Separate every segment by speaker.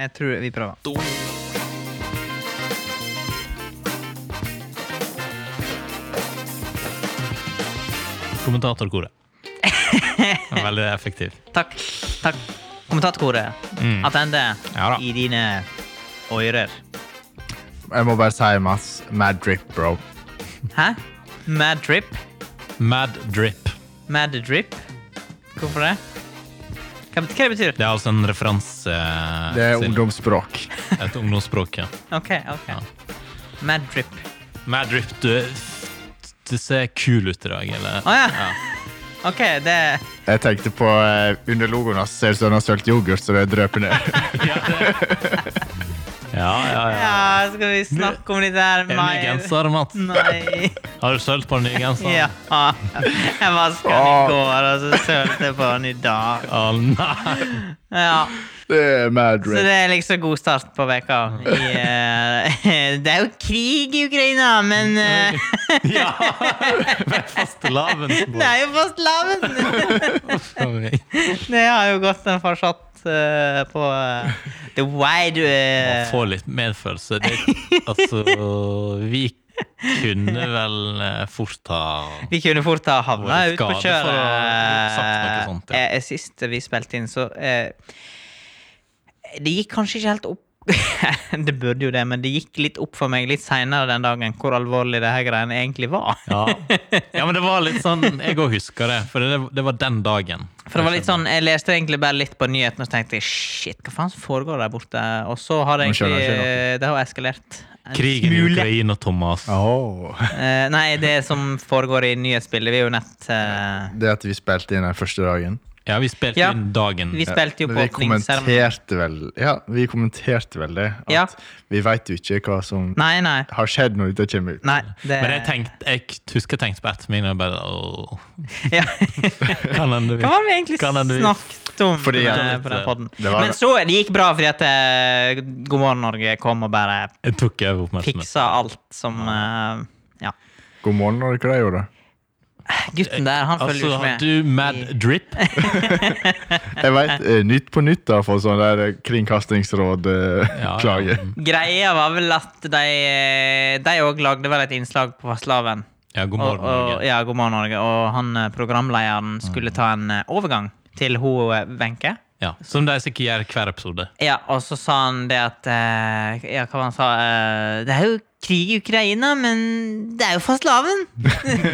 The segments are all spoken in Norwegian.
Speaker 1: Jeg tror vi prøver.
Speaker 2: Kommentatorkoret. Veldig effektiv.
Speaker 1: Takk. Takk. Kommentatorkoret,
Speaker 2: Mm.
Speaker 1: attende
Speaker 2: Ja da.
Speaker 1: i dine ører.
Speaker 3: Jeg må bare si, Mats, mad drip, bro.
Speaker 1: Hæ? Mad drip?
Speaker 2: Mad drip.
Speaker 1: Mad drip? Hvorfor det? Hva, hva det betyr
Speaker 2: Det er altså en referanse eh,
Speaker 3: Det er
Speaker 2: til
Speaker 3: ungdomsspråk.
Speaker 2: et ungdomsspråk. Ja.
Speaker 1: Ok, ok. Mad drip.
Speaker 2: Mad drip, du, du ser kul ut i dag, eller?
Speaker 1: Å ja. Ok, det
Speaker 3: Jeg tenkte på eh, under logoen hans ser det ut som han har sølt yoghurt, så det drøper ned.
Speaker 2: Ja, det. ja, ja. ja.
Speaker 1: Ja, skal vi snakke om det der
Speaker 2: Er det ny genser, Mats?
Speaker 1: Nei.
Speaker 2: Har du sølt på den nye genseren?
Speaker 1: Ja. Jeg vaska den i går, og så sølte jeg på den i dag.
Speaker 2: Å, nei.
Speaker 1: Ja.
Speaker 3: Det er mad
Speaker 1: Så
Speaker 3: drip.
Speaker 1: det er liksom god start på veka. I, eh, det er jo krig i Ukraina, men eh,
Speaker 2: Ja! Med fastelavn.
Speaker 1: det er jo fastelavn! Det har jo gått en fortsatt eh, på eh, the wide
Speaker 2: Man
Speaker 1: eh,
Speaker 2: får litt medfølelse. Det, altså, vi kunne vel eh, fort ha
Speaker 1: Vi kunne fort ha havna
Speaker 2: Vært
Speaker 1: ut på
Speaker 2: skade
Speaker 1: kjøret.
Speaker 2: for å ha sagt noe sånt, ja.
Speaker 1: Eh, eh, Sist vi spilte inn, så eh, Det gikk kanskje ikke helt opp Det burde jo det, men det gikk litt opp for meg litt seinere den dagen hvor alvorlig det her greiene egentlig var.
Speaker 2: ja. ja, men det var litt sånn Jeg òg husker det, for det, det var den dagen.
Speaker 1: For det var litt sånn, Jeg leste egentlig bare litt på nyhetene og så tenkte jeg, shit, hva faen foregår der borte? Og så har det
Speaker 3: Nå skjønner
Speaker 1: egentlig
Speaker 3: jeg ikke
Speaker 1: eh, det har eskalert. en
Speaker 2: sånn, Krigen i
Speaker 1: smule.
Speaker 2: Ukraina, Thomas.
Speaker 3: Åh.
Speaker 1: Eh, nei, det som foregår i nyhetsbildet, vi er jo nett eh,
Speaker 3: Det at vi spilte inn den første dagen.
Speaker 2: Ja, vi spilte
Speaker 1: Ja.
Speaker 2: inn dagen.
Speaker 1: Vi spilte jo på
Speaker 3: Mm. Men vi
Speaker 1: åpningsseremonien.
Speaker 3: kommenterte vel Ja, vi kommenterte vel det. At
Speaker 1: Ja.
Speaker 3: vi veit jo ikke hva som
Speaker 1: Nei, nei.
Speaker 3: har skjedd når dette kommer ut.
Speaker 1: nei det,
Speaker 2: Men jeg tenkte, jeg husker jeg tenkte på ettermiddagen og bare åh,
Speaker 1: ja.
Speaker 2: Kan hende vi
Speaker 1: Hva var det vi egentlig
Speaker 2: Kan hende vi-
Speaker 1: snakket om
Speaker 3: Fordi
Speaker 1: på
Speaker 3: at-
Speaker 1: den- på den podden?
Speaker 3: Det var-
Speaker 1: Men så det gikk bra, fordi at eh, God morgen Norge kom og bare
Speaker 2: Jeg tok over oppmerksomheten.
Speaker 1: fiksa alt som eh, Ja.
Speaker 3: God morgen, når dere gjorde det.
Speaker 1: Gutten der, han følger
Speaker 2: Altså,
Speaker 1: jo ikke
Speaker 2: har
Speaker 1: med.
Speaker 2: du mad drip?
Speaker 3: Jeg vet, eh, Nytt på nytt har fått sånn der eh,
Speaker 2: Ja, Mm.
Speaker 3: kringkastingsråd-klage.
Speaker 2: ja.
Speaker 1: Greia var vel at de De òg lagde vel et innslag på Fastelavn.
Speaker 2: Ja, god
Speaker 1: Og,
Speaker 2: morgen,
Speaker 1: og,
Speaker 2: Norge. Mm.
Speaker 1: ja, God morgen, Norge. Og han eh, programlederen skulle ta en eh, overgang til hun eh, Wenche.
Speaker 2: Ja, som de sikkert gjør hver episode.
Speaker 1: Ja, og så sa han det at eh, Ja, hva var han sa? eh, det er jo krig i Ukraina, men det er jo fastelavn!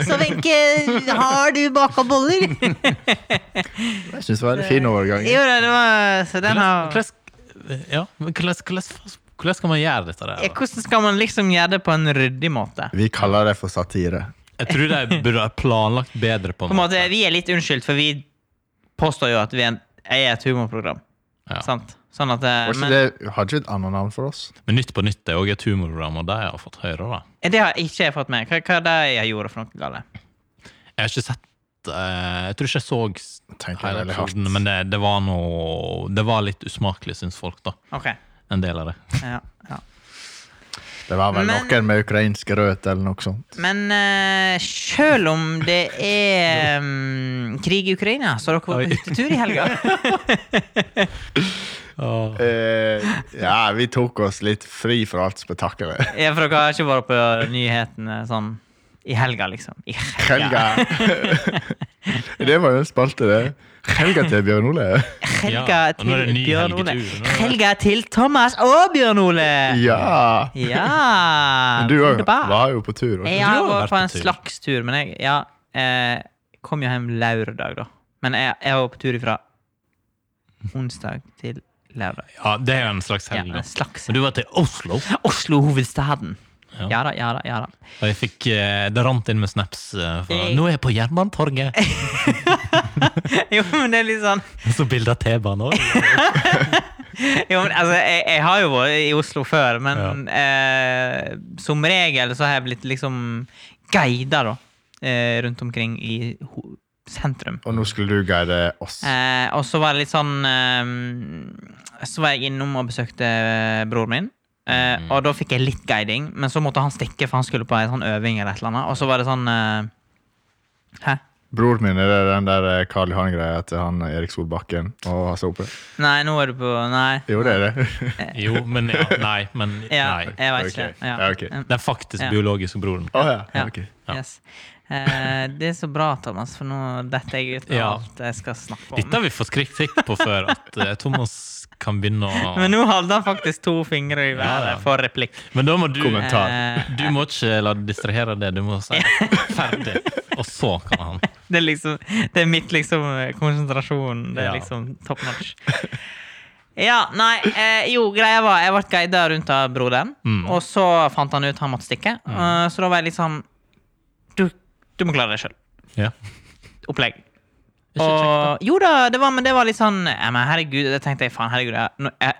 Speaker 1: så Wenche, har du baka boller?
Speaker 3: Jeg syns det var en fin overgang.
Speaker 1: jo da, det var Så den har
Speaker 2: Hvordan hvordan- ja, men hvordan- hvordan- hvordan skal man gjøre dette der?
Speaker 1: Ja,
Speaker 2: da?
Speaker 1: Hvordan skal man liksom gjøre det på en ryddig måte?
Speaker 3: Vi kaller det for satire.
Speaker 2: Jeg tror de burde ha planlagt bedre på en
Speaker 1: På en måte,
Speaker 2: måte.
Speaker 1: Vi er litt unnskyldt, for vi påstår jo at vi er, en, er et humorprogram.
Speaker 2: Ja.
Speaker 1: Sant? Sånn at eh,
Speaker 3: Var ikke
Speaker 1: men,
Speaker 3: det, hadde ikke et annet navn for oss?
Speaker 2: Men Nytt på Nytt er òg et humorprogram, og de har fått høre da.
Speaker 1: Det har jeg ikke fått med. Hva, hva er det jeg gjorde for noe galt?
Speaker 2: Jeg har ikke sett eh, Jeg tror ikke jeg så s-
Speaker 3: Tenker jeg
Speaker 2: hele
Speaker 3: veldig hardt.
Speaker 2: episoden, men det, det var noe Det var litt usmakelig, syns folk, da.
Speaker 1: Ok.
Speaker 2: En del av det.
Speaker 1: Ja, ja.
Speaker 3: Det var vel
Speaker 1: Men-
Speaker 3: noen med ukrainsk rødt eller noe sånt.
Speaker 1: Men eh, selv om det er mm, krig i Ukraina, så har dere
Speaker 2: Oi.
Speaker 1: vært på hyttetur i helga.
Speaker 3: Eh, ja, vi tok oss litt fri fra alt spetakkelet.
Speaker 1: Ja, for dere har ikke vært på nyhetene sånn i helga, liksom. I helga.
Speaker 3: Helga! det var jo en spalte, det. Helga til Bjørn Ole.
Speaker 1: Helga
Speaker 2: Ja, og nå er det
Speaker 1: til
Speaker 2: ny
Speaker 1: Bjørn Ole.
Speaker 2: helgetur. Nå er det-
Speaker 1: Helga til Thomas og Bjørn Ole!
Speaker 3: Ja!
Speaker 1: Ja!
Speaker 3: Men Du òg
Speaker 1: wunderbar.
Speaker 3: var jo på tur. var ikke
Speaker 1: Jeg
Speaker 2: Du
Speaker 1: har
Speaker 2: har vært
Speaker 1: gått på
Speaker 2: på
Speaker 1: en
Speaker 2: tur.
Speaker 1: slags tur, men jeg ja, eh, kom jo hjem lørdag, da. Men jeg, jeg var på tur ifra onsdag til lørdag.
Speaker 2: Ja, det er jo en slags
Speaker 1: Ja,
Speaker 2: helg, da.
Speaker 1: en slags.
Speaker 2: Men du var til Oslo,
Speaker 1: Oslo-hovedstaden.
Speaker 2: Ja.
Speaker 1: Ja da, ja da, ja da.
Speaker 2: og jeg fikk eh, Det rant inn med snaps. eh, fra,
Speaker 1: Jeg-
Speaker 2: 'Nå er jeg på Jernbanetorget!'
Speaker 1: Jo, men det er litt sånn
Speaker 2: Så bilde av T-banen òg.
Speaker 1: jo, men, altså, jeg, jeg har jo vært i Oslo før, men eh, som regel så har jeg blitt liksom guida, da. Eh, rundt omkring i ho sentrum.
Speaker 3: Og nå skulle du guide oss.
Speaker 1: Eh, og så var det litt sånn eh, Så var jeg innom og besøkte broren min. Eh,
Speaker 2: Mm.
Speaker 1: Og da fikk jeg litt guiding, men så måtte han stikke, for han skulle på en sånn øving. eller et eller annet Og så var det sånn eh, Hæ?
Speaker 3: Bror min er det den der eh, Karl Johan-greia til han eh, Erik Solbakken og Hasse Hope.
Speaker 1: Nei, nå er du på Nei.
Speaker 3: Jo, det er det.
Speaker 2: Jo, men ja, nei. Men
Speaker 1: Ja,
Speaker 2: nei.
Speaker 1: jeg vet
Speaker 3: Ok.
Speaker 1: ikke. Ja.
Speaker 3: Ja, ok.
Speaker 1: Mm,
Speaker 2: Den faktisk
Speaker 1: Ja.
Speaker 2: biologiske broren.
Speaker 3: Å ja.
Speaker 1: Ja.
Speaker 3: ok.
Speaker 1: Yes. Eh, det er så bra, Thomas, for nå detter jeg ut av
Speaker 2: Ja.
Speaker 1: alt jeg skal snakke om.
Speaker 2: Dette har vi fått kritikk på før, at eh, Thomas kan begynne å
Speaker 1: Men nå hadde han faktisk to fingre i
Speaker 2: Ja, ja.
Speaker 1: været for replikk.
Speaker 2: Men da må du
Speaker 3: Kommentar. Ta den.
Speaker 1: Eh,
Speaker 2: Du må ikke la det distrahere deg, du må si ferdig. Og så kan han.
Speaker 1: det, er liksom, det er mitt liksom konsentrasjon. Det er
Speaker 2: Ja.
Speaker 1: liksom top notch. Ja, nei, eh, jo, greia var Jeg ble guida rundt av broderen,
Speaker 2: Mm.
Speaker 1: og så fant han ut han måtte stikke. Eh, så da var jeg litt sånn Du, du må klare deg sjøl.
Speaker 2: Ja.
Speaker 1: Opplegg.
Speaker 2: Ikke
Speaker 1: Og, jo da, det var, men det var litt sånn ja, men herregud, Det tenkte jeg faen, herregud. Jeg, nå- jeg,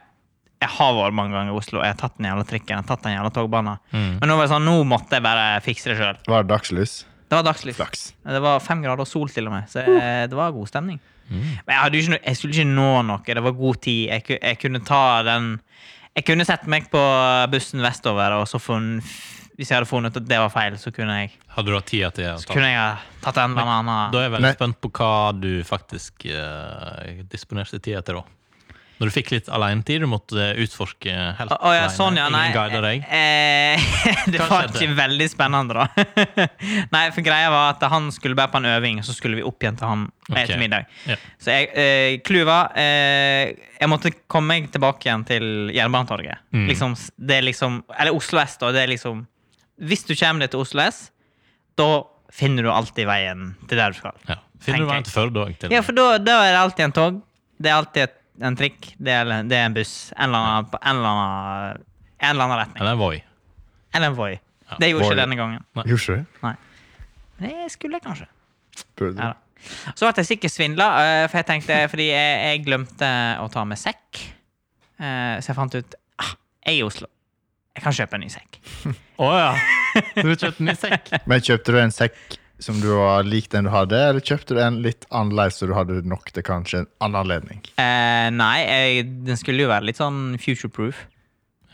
Speaker 1: jeg har vært mange ganger i Oslo, jeg har tatt den jævla trikken, jeg har tatt den jævla togbanen.
Speaker 2: Mm.
Speaker 1: Men nå var det sånn, nå måtte jeg bare fikse det sjøl.
Speaker 3: Var det dagslys?
Speaker 1: Det var dagslys.
Speaker 3: Flaks.
Speaker 1: Det var fem grader og sol til og med, så eh, det var god stemning.
Speaker 2: Mm.
Speaker 1: Men jeg, hadde jo ikke, noe- jeg skulle ikke nå noe, det var god tid. Jeg, ku- jeg kunne ta den Jeg kunne sett meg på bussen vestover, og så funnet Hvis jeg hadde funnet ut at det var feil, så kunne jeg,
Speaker 2: Hadde du hatt tida til å
Speaker 1: så
Speaker 2: ta
Speaker 1: kunne jeg ha tatt en eller annen
Speaker 2: Da er jeg veldig
Speaker 3: Nei.
Speaker 2: spent på hva du faktisk eh, disponerte tida til, da. Når du fikk litt alenetid, du måtte utforske helt
Speaker 1: Å å ja,
Speaker 2: alene.
Speaker 1: sånn, ja. Nei.
Speaker 2: Ingen guider deg.
Speaker 1: Eh, det
Speaker 2: Hva
Speaker 1: var
Speaker 2: skjedde?
Speaker 1: ikke veldig spennende, da. nei, for greia var at han skulle bare på en øving, så skulle vi opp igjen til han
Speaker 2: Ok.
Speaker 1: etter middag.
Speaker 2: Ja.
Speaker 1: Så jeg, eh, kluva eh, Jeg måtte komme meg tilbake igjen til Jernbanetorget.
Speaker 2: Mm.
Speaker 1: Liksom, s- det er liksom Eller Oslo S, da. Det er liksom Hvis du kommer deg til Oslo S, da finner du alltid veien til der du skal.
Speaker 2: Ja. Finner du
Speaker 1: Tenker jeg.
Speaker 2: veien til Førde òg?
Speaker 1: Ja, for da, da er det alltid en tog. Det er alltid et, en trikk. Det er, det er en buss. En eller annen, på en eller annen, en eller annen retning.
Speaker 2: Eller en Voi?
Speaker 1: Eller en Voi. Det gjorde
Speaker 3: Voi.
Speaker 1: ikke denne gangen.
Speaker 3: Gjorde ikke det?
Speaker 1: Nei. Det skulle jeg kanskje.
Speaker 3: Burde.
Speaker 1: Ja, da. Så ble jeg sikkert svindla, eh, for jeg tenkte, fordi jeg, jeg glemte å ta med sekk. Eh, Så jeg fant ut ah, jeg er i Oslo. Jeg kan kjøpe en ny sekk.
Speaker 2: Å ja! Så du kjøpte ny sekk?
Speaker 3: Men kjøpte du en sekk som du var lik den du hadde, eller kjøpte du en litt annerledes så du hadde nok til kanskje en annen anledning?
Speaker 1: Eh, Nei, jeg, den skulle jo være litt sånn future proof.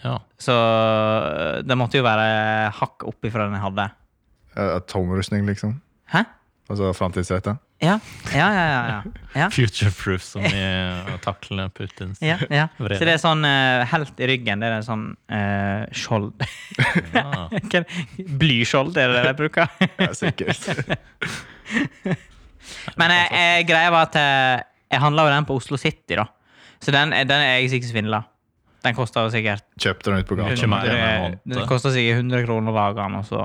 Speaker 2: Ja.
Speaker 1: Så eh, den måtte jo være hakk opp ifra den jeg hadde.
Speaker 3: Eh, Atomrustning, liksom?
Speaker 1: Hæ?
Speaker 3: Altså framtidsretta?
Speaker 1: Ja, ja, ja. ja, ja. ja.
Speaker 2: Future proof, som i å takle Putins
Speaker 1: Ja, ja.
Speaker 2: Vrede.
Speaker 1: Så det er sånn eh, helt i ryggen. Det er en sånn eh, skjold
Speaker 2: Ja.
Speaker 1: Hva er det? Blyskjold, er det det jeg bruker?
Speaker 3: Ja, sikkert.
Speaker 1: Men jeg, jeg, greia var at eh, jeg handla jo den på Oslo City, da. Så den, eh, den er jeg sikkert svindla. Den kosta jo sikkert
Speaker 3: Kjøpte den ut på
Speaker 2: Ikke
Speaker 3: gata.
Speaker 2: meg. mer enn en hånd.
Speaker 1: Den koster sikkert 100 kroner dagen, og så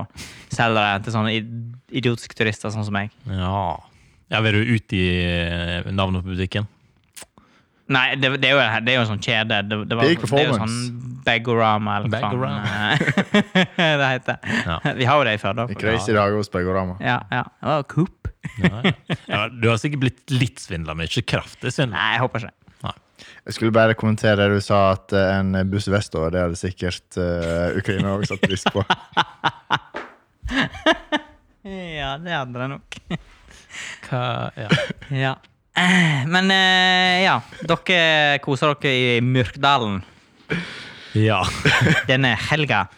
Speaker 1: selger jeg den til sånne id- idiotiske turister sånn som meg.
Speaker 2: ja. ja vil du ut i navnet på butikken?
Speaker 1: Nei, det, det, er, jo, det er jo en sånn kjede. Det, det, var,
Speaker 3: Big
Speaker 1: det er jo sånn
Speaker 3: performance.
Speaker 1: Bagorama, eller hva
Speaker 2: Bagorama.
Speaker 1: faen det heter.
Speaker 2: Ja.
Speaker 1: Vi har jo det i Førde.
Speaker 3: Det er Crazy dager hos Begorama.
Speaker 1: Ja, ja. Det var Coop.
Speaker 2: Ja, ja. ja, du har sikkert blitt litt svindla, men ikke kraftig svindla.
Speaker 1: Nei, jeg håper ikke det.
Speaker 3: Jeg skulle bare kommentere det du sa, at eh, en buss vestover, det hadde sikkert eh, Ukraina også satt pris på.
Speaker 1: Ja, det hadde det nok.
Speaker 2: Hva- Ja.
Speaker 1: Ja. Eh, Men eh, ja, dere koser dere i Myrkdalen
Speaker 2: ja.
Speaker 1: denne helga.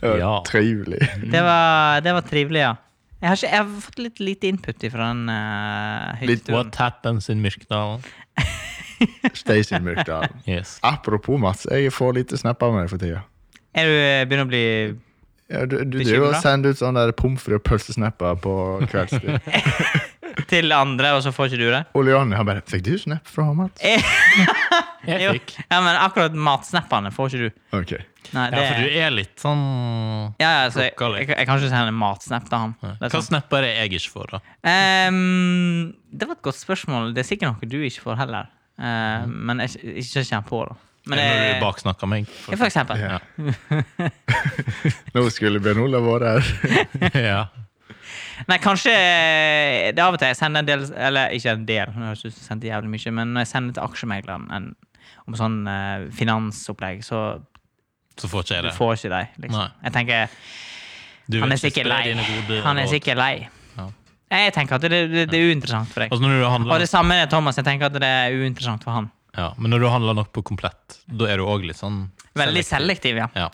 Speaker 3: Det
Speaker 2: Ja.
Speaker 3: var Trivelig.
Speaker 1: Det var, det var trivelig, ja. Jeg har, ikke, jeg har fått litt lite input fra den uh,
Speaker 3: Litt
Speaker 1: hytteturen.
Speaker 2: What happens in Myrkdalen?
Speaker 3: Stacy Myrkdalen.
Speaker 2: Yes.
Speaker 3: Apropos Mats, jeg får lite snap av meg for tida.
Speaker 1: Er du eh, begynner å bli
Speaker 3: Ja, du du
Speaker 1: Bekymret?
Speaker 3: driver og sender ut sånne der pommes frites og pølsesnapper på kveldstid.
Speaker 1: til andre, og så får ikke du det?
Speaker 3: Ole Johnny han bare 'Fikk du snap fra Mats?'
Speaker 1: Eh. Jo.
Speaker 2: Jeg fikk.
Speaker 1: Ja, men akkurat matsnappene får ikke du.
Speaker 3: Ok.
Speaker 1: Nei,
Speaker 2: Ja,
Speaker 1: det,
Speaker 2: for du er litt sånn
Speaker 1: ja, ja, så jeg,
Speaker 2: plukka litt.
Speaker 1: jeg, jeg kan ikke sende en matsnapp til ham. Det, er
Speaker 2: Hva
Speaker 1: sant.
Speaker 2: snapper er jeg ikke for, da?
Speaker 1: Ehm, det var et godt spørsmål. Det er sikkert noe du ikke får heller.
Speaker 2: Mm.
Speaker 1: Ehm, Men jeg ikke- ikke kjenner på, da. Men
Speaker 2: Når
Speaker 1: det,
Speaker 2: du baksnakker meg?
Speaker 1: ja, for eksempel.
Speaker 3: Ja. Nå skulle Bjørn Olav vært her.
Speaker 2: ja.
Speaker 1: Nei, kanskje eh, Det er av og til jeg sender en del Eller ikke en del, nå høres det ut som jeg sendte jævlig mye, men når jeg sender til aksjemegleren en, om sånn eh, finansopplegg, så
Speaker 2: Så får ikke jeg
Speaker 1: du
Speaker 2: det.
Speaker 1: får ikke de. Liksom.
Speaker 2: Nei.
Speaker 1: Jeg tenker
Speaker 2: Du
Speaker 1: Han
Speaker 2: vil
Speaker 1: er
Speaker 2: ikke
Speaker 1: sikkert
Speaker 2: spre
Speaker 1: lei.
Speaker 2: dine gode
Speaker 1: Han er
Speaker 2: råd.
Speaker 1: sikkert lei.
Speaker 2: Ja.
Speaker 1: Nei, Jeg tenker at det, det, det er uinteressant for deg.
Speaker 2: Altså når du
Speaker 1: Og
Speaker 2: handler,
Speaker 1: det samme er Thomas. Jeg tenker at det er uinteressant for han.
Speaker 2: ja, men når du handler nok på komplett, da er du òg litt sånn
Speaker 1: Veldig selektiv, ja.
Speaker 2: Ja.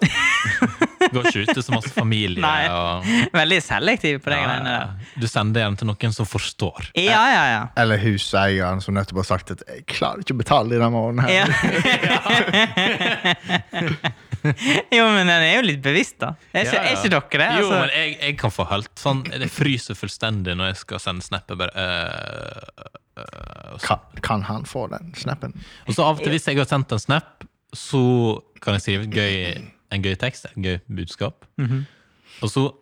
Speaker 2: Går ikke ut til så masse familie.
Speaker 1: Nei.
Speaker 2: og,
Speaker 1: Veldig selektiv på de greiene
Speaker 2: ja,
Speaker 1: der.
Speaker 2: du sender den til noen som forstår.
Speaker 1: Ja, ja, ja.
Speaker 3: Eller huseieren som nettopp har sagt at 'jeg klarer ikke å betale denne måneden'. her.
Speaker 1: ja. jo, men den er jo litt bevisst, da. Er ikke,
Speaker 2: Ja, ja.
Speaker 1: er ikke dere det?
Speaker 2: Jo,
Speaker 1: Altså,
Speaker 2: men jeg, jeg kan få helt sånn Det fryser fullstendig når jeg skal sende snapper. Bare, øh, øh, og så-
Speaker 3: Kan, kan han få den snappen?
Speaker 2: og så av og til, hvis jeg har sendt en snap, så kan jeg skrive et gøy, en gøy tekst, en gøy budskap.
Speaker 1: Mhm.
Speaker 2: Og så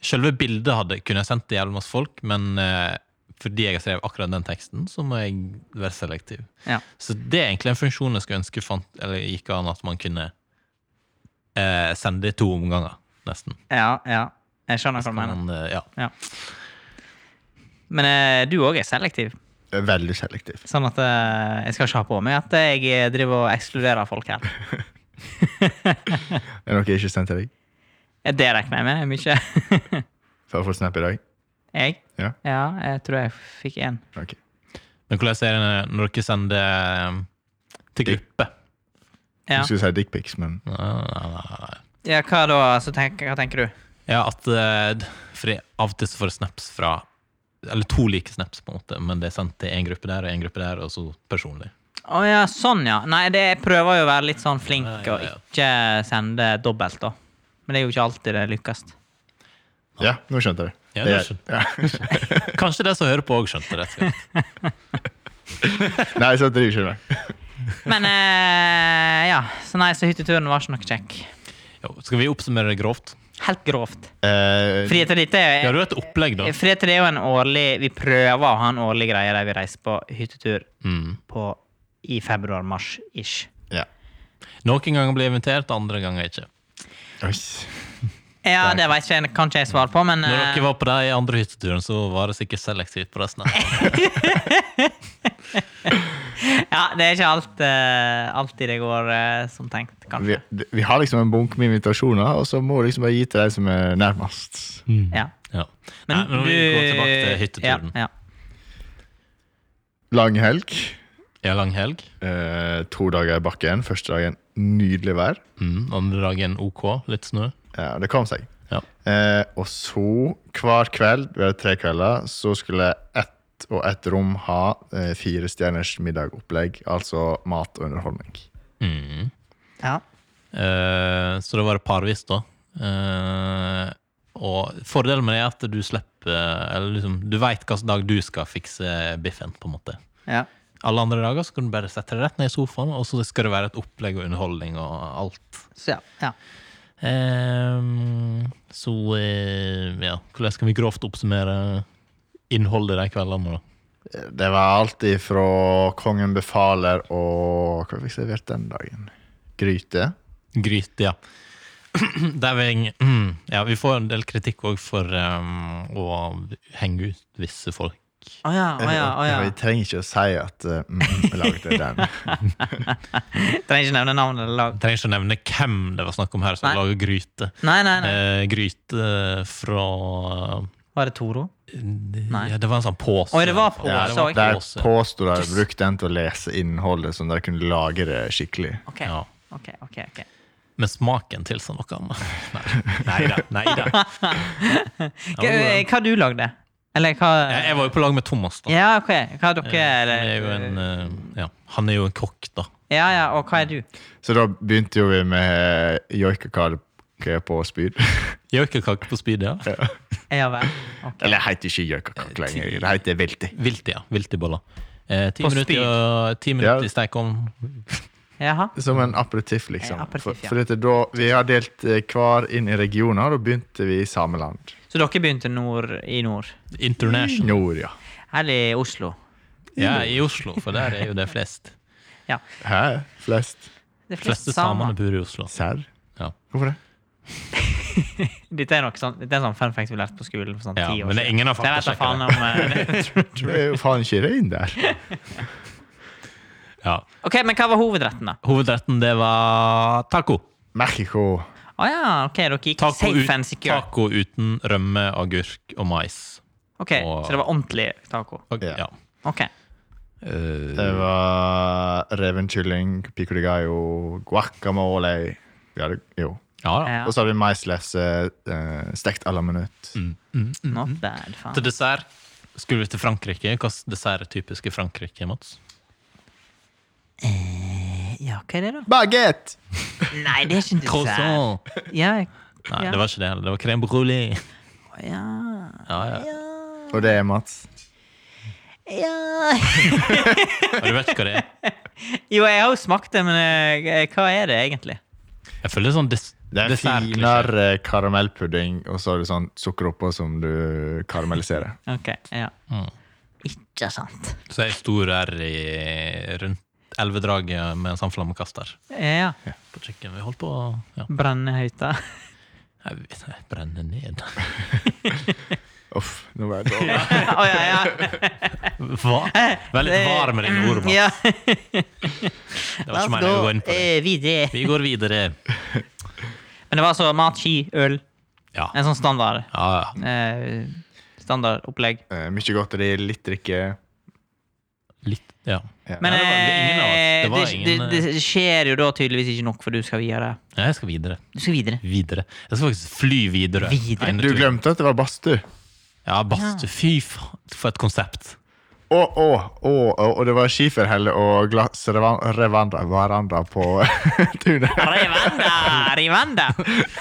Speaker 2: Selve bildet hadde, kunne jeg sendt til jævlig masse folk, men eh, fordi jeg har skrevet akkurat den teksten, så må jeg være selektiv.
Speaker 1: ja.
Speaker 2: Så det er egentlig en funksjon jeg skulle ønske fant, eller gikk an at man kunne eh, sende i to omganger, nesten.
Speaker 1: ja, ja. Jeg skjønner hva du mener.
Speaker 2: Men, eh, ja.
Speaker 1: Ja. Men eh, du òg er selektiv.
Speaker 3: Det er Veldig selektiv.
Speaker 1: Sånn at eh, jeg skal ikke ha på meg at jeg driver og ekskluderer folk her.
Speaker 3: Er det noe jeg ikke sendte deg
Speaker 1: Det regner jeg med. er Mye.
Speaker 3: for å få snap i dag?
Speaker 1: jeg?
Speaker 3: Ja.
Speaker 1: ja, jeg tror jeg fikk én.
Speaker 3: Ok.
Speaker 2: Men hvordan er det når dere sender um, til gruppe?
Speaker 1: Ja.
Speaker 3: Jeg skulle si dickpics, men
Speaker 2: Nei, nei, nei, nei.
Speaker 1: ja, hva da? Så tenk, hva tenker du?
Speaker 2: Ja, at eh, d- for jeg, Av og til så får jeg snaps fra Eller to like snaps, på en måte, men det er sendt til én gruppe der og én gruppe der, og så personlig.
Speaker 1: Å ja, sånn ja. Nei, det, jeg prøver jo å være litt sånn flink
Speaker 2: Ja, ja, ja.
Speaker 1: og ikke sende dobbelt, da. Men det er jo ikke alltid det lykkes.
Speaker 3: ja, nå skjønte jeg det.
Speaker 2: Ja,
Speaker 3: det
Speaker 2: nå skjønte
Speaker 3: ja.
Speaker 2: Kanskje de som hører på, òg skjønte det. rett og slett.
Speaker 3: Nei, så driver ikke med det.
Speaker 1: Men eh, ja, så nei, så hytteturen var ikke noe kjekk.
Speaker 2: Jo, skal vi oppsummere det grovt?
Speaker 1: Helt grovt.
Speaker 3: Eh,
Speaker 1: Frihet til dette
Speaker 2: Ja,
Speaker 1: er
Speaker 2: du har et opplegg, da.
Speaker 1: Frihet til Eh, det er jo en årlig Vi prøver å ha en årlig greie der vi reiser på hyttetur
Speaker 2: Mm.
Speaker 1: på, i februar-mars-ish.
Speaker 3: ja.
Speaker 2: Noen ganger blir jeg invitert, andre ganger ikke.
Speaker 3: Oi.
Speaker 1: Ja, det vet ikke jeg, kan ikke jeg svare på, men
Speaker 2: Når
Speaker 1: eh,
Speaker 2: dere var på de andre hytteturene, så var det sikkert selektivt på resten. av-
Speaker 1: ja, det er ikke alt, eh, alltid det går eh, som tenkt,
Speaker 3: Vi,
Speaker 1: kanskje.
Speaker 3: vi har liksom en bunke med invitasjoner, og så må du liksom bare gi til de som er nærmest.
Speaker 2: Mm.
Speaker 1: Ja.
Speaker 2: Ja. Nei, men vi går tilbake til hytteturen.
Speaker 1: Ja, ja.
Speaker 3: Lang helg.
Speaker 2: Ja, lang helg.
Speaker 3: Eh, to dager i bakken. Første dagen nydelig vær.
Speaker 2: Mm, andre dagen OK, litt snø.
Speaker 3: Ja, det kom seg.
Speaker 2: Ja.
Speaker 3: Eh, og så, hver kveld, vi hadde tre kvelder, så skulle ett og ett rom ha eh, fire stjerners middagopplegg. Altså mat og underholdning.
Speaker 2: Mm.
Speaker 1: Ja.
Speaker 2: Eh, så det var det parvis, da. Eh, og fordelen med det er at du slipper Eller liksom, du veit hvilken dag du skal fikse biffen, på en måte.
Speaker 1: Ja.
Speaker 2: Alle andre dager så kan du bare sette deg rett ned i sofaen, og så skal det være et opplegg og underholdning og alt.
Speaker 1: Så ja. ja.
Speaker 2: Ehm, så eh, ja, hvordan skal vi grovt oppsummere innholdet de kveldene? da?
Speaker 3: Eh, Det var alt ifra Kongen befaler og Hva fikk jeg servert den dagen? Gryte.
Speaker 2: Gryte, ja. Der vi, heng- hm, ja. Vi får en del kritikk òg for ehm, å henge ut visse folk.
Speaker 1: Å ja,
Speaker 2: Ah,
Speaker 1: å ja, å ja.
Speaker 3: Jeg trenger ikke å si at eh, mm, mm, jeg lagde den.
Speaker 1: Trenger ikke nevne navnet eller lag.
Speaker 2: Jeg trenger ikke å nevne hvem det var snakk om her som
Speaker 1: Nei.
Speaker 2: lager gryte.
Speaker 1: Nei, nei, nei.
Speaker 2: Eh, gryte fra
Speaker 1: Var det Toro?
Speaker 2: Ja, det var en sånn pose.
Speaker 1: Oi, det var pose,
Speaker 2: Ja, det var
Speaker 1: oi.
Speaker 3: Der
Speaker 2: pose.
Speaker 3: påsto de brukte den til å lese innholdet, sånn at de kunne lage det skikkelig.
Speaker 1: Ok,
Speaker 2: Ja.
Speaker 1: ok, ok. ok.
Speaker 2: Men smaken tilsa noe annet. Nei da. Nei da.
Speaker 1: Hva, hva du lagde? Eller hva
Speaker 2: Jeg var jo på lag med Thomas, da. Eh,
Speaker 1: Ja, ok. Hva er dere
Speaker 2: Han
Speaker 1: eller-
Speaker 2: er jo en, eh, ja, han er jo en kokk, da.
Speaker 1: Ja, ja, og hva er du?
Speaker 3: Så da begynte jo vi med joikakake på spyd.
Speaker 2: Gjøkekake på speed, ja.
Speaker 1: Ja vel. ok.
Speaker 3: Eller det heter ikke joikakake lenger, det heter vilti.
Speaker 2: Vilti, ja. Viltiboller. Eh, ti
Speaker 1: På
Speaker 2: minutter, i
Speaker 1: speed.
Speaker 2: å- ti minutter
Speaker 3: Ja.
Speaker 2: i stekeovn.
Speaker 1: Jaha.
Speaker 3: Som en aperitiff, liksom.
Speaker 1: Ja, aperitiff,
Speaker 3: for,
Speaker 1: ja.
Speaker 3: for dette da, vi har delt eh, hver inn i regioner, og da begynte vi i Sameland.
Speaker 1: Så dere begynte nord, i nord?
Speaker 2: International.
Speaker 3: Nord, ja.
Speaker 1: Eller i Oslo?
Speaker 2: Ja, i Oslo, for der er jo det flest.
Speaker 1: Ja.
Speaker 3: Hæ? Flest?
Speaker 1: De
Speaker 2: De fleste samene bor i Oslo.
Speaker 3: Serr?
Speaker 2: Ja.
Speaker 3: Hvorfor det?
Speaker 1: Dette er, nok sånn, dette er en sånn fun fact vi lærte på skolen for sånn
Speaker 2: Ja,
Speaker 1: ti år
Speaker 2: men det er ingen har
Speaker 1: Det vet jeg faen
Speaker 2: faktasjekket
Speaker 1: om, eh,
Speaker 3: Det er jo faen ikke det inn der.
Speaker 2: Ja.
Speaker 1: ok, men hva var hovedretten, da?
Speaker 2: Hovedretten, det var taco.
Speaker 3: Mexico.
Speaker 1: Å ja, ok, dere gikk
Speaker 2: Taco,
Speaker 1: safe and
Speaker 2: ut,
Speaker 1: secure.
Speaker 2: taco uten rømme, agurk og mais.
Speaker 1: Ok,
Speaker 2: og-
Speaker 1: Så det var ordentlig taco?
Speaker 2: Og,
Speaker 3: Ja.
Speaker 2: ja.
Speaker 1: Ok.
Speaker 2: Eh,
Speaker 3: Det var revenkylling, pico de gallo, guacamole Vi hadde jo
Speaker 2: Ja da.
Speaker 1: Ja.
Speaker 3: Og så har vi maislefse eh, stekt à la minutt.
Speaker 2: Mhm.
Speaker 1: Not bad, faen.
Speaker 2: Til dessert skulle vi til Frankrike. Hvilken dessert er typisk i Frankrike, Mats?
Speaker 1: Eh, Ja, hva er det, da?
Speaker 3: Baguette!
Speaker 1: Nei, det er ikke en dessert.
Speaker 2: Croissant!
Speaker 1: Ja,
Speaker 2: Nei,
Speaker 1: ja.
Speaker 2: det var ikke det. heller. Det var crème brûlée.
Speaker 1: ja.
Speaker 2: Ja, ja.
Speaker 3: Og det er Mats.
Speaker 1: ja.
Speaker 2: Og du vet ikke hva det er?
Speaker 1: Jo, jeg har jo smakt det, men eh, hva er det egentlig?
Speaker 2: Jeg føler sånn des
Speaker 3: Det er en
Speaker 2: dessertklisjé.
Speaker 3: finere karamellpudding, og så har du sånn sukker oppå som du karamelliserer.
Speaker 1: Ok, ja.
Speaker 2: Mm.
Speaker 1: Ikke sant.
Speaker 2: Så er det stor R i rundt elvedraget med en sånn flammekaster
Speaker 1: Ja.
Speaker 2: på kjøkkenet. Vi holdt på å ja.
Speaker 1: Brennehøyta.
Speaker 2: Jeg vet- jeg brenner ned.
Speaker 3: Uff, nå var jeg dårlig.
Speaker 1: Å ja, ja.
Speaker 2: Hva? Veldig var med dine ord, Mats.
Speaker 1: Ja.
Speaker 2: Det var
Speaker 1: Let's
Speaker 2: ikke meningen å
Speaker 1: go
Speaker 2: gå inn på det.
Speaker 1: eh, videre.
Speaker 2: Vi går videre.
Speaker 1: Men det var altså mat, ski, øl.
Speaker 2: Ja.
Speaker 1: En sånn standard
Speaker 2: ja, ja.
Speaker 1: eh, Standardopplegg.
Speaker 3: Eh, mye godteri, litt drikke.
Speaker 2: Litt, ja.
Speaker 3: Ja.
Speaker 1: Men
Speaker 2: det var- det er ingen av oss. Det
Speaker 1: eh,
Speaker 2: var
Speaker 1: det,
Speaker 2: ingen,
Speaker 1: det, det skjer jo da tydeligvis ikke nok, for du skal videre.
Speaker 2: Ja, Jeg skal videre.
Speaker 1: Du skal videre.
Speaker 2: Videre. Jeg skal faktisk fly videre.
Speaker 1: Videre?
Speaker 2: En
Speaker 3: Du
Speaker 2: tur.
Speaker 3: glemte at det var badstue.
Speaker 2: Ja, badstue. Fy faen, for et konsept.
Speaker 3: Og, og, og, og, og det var skiferhelle og glassveranda veranda på tunet.
Speaker 1: Rivanda! Rivanda!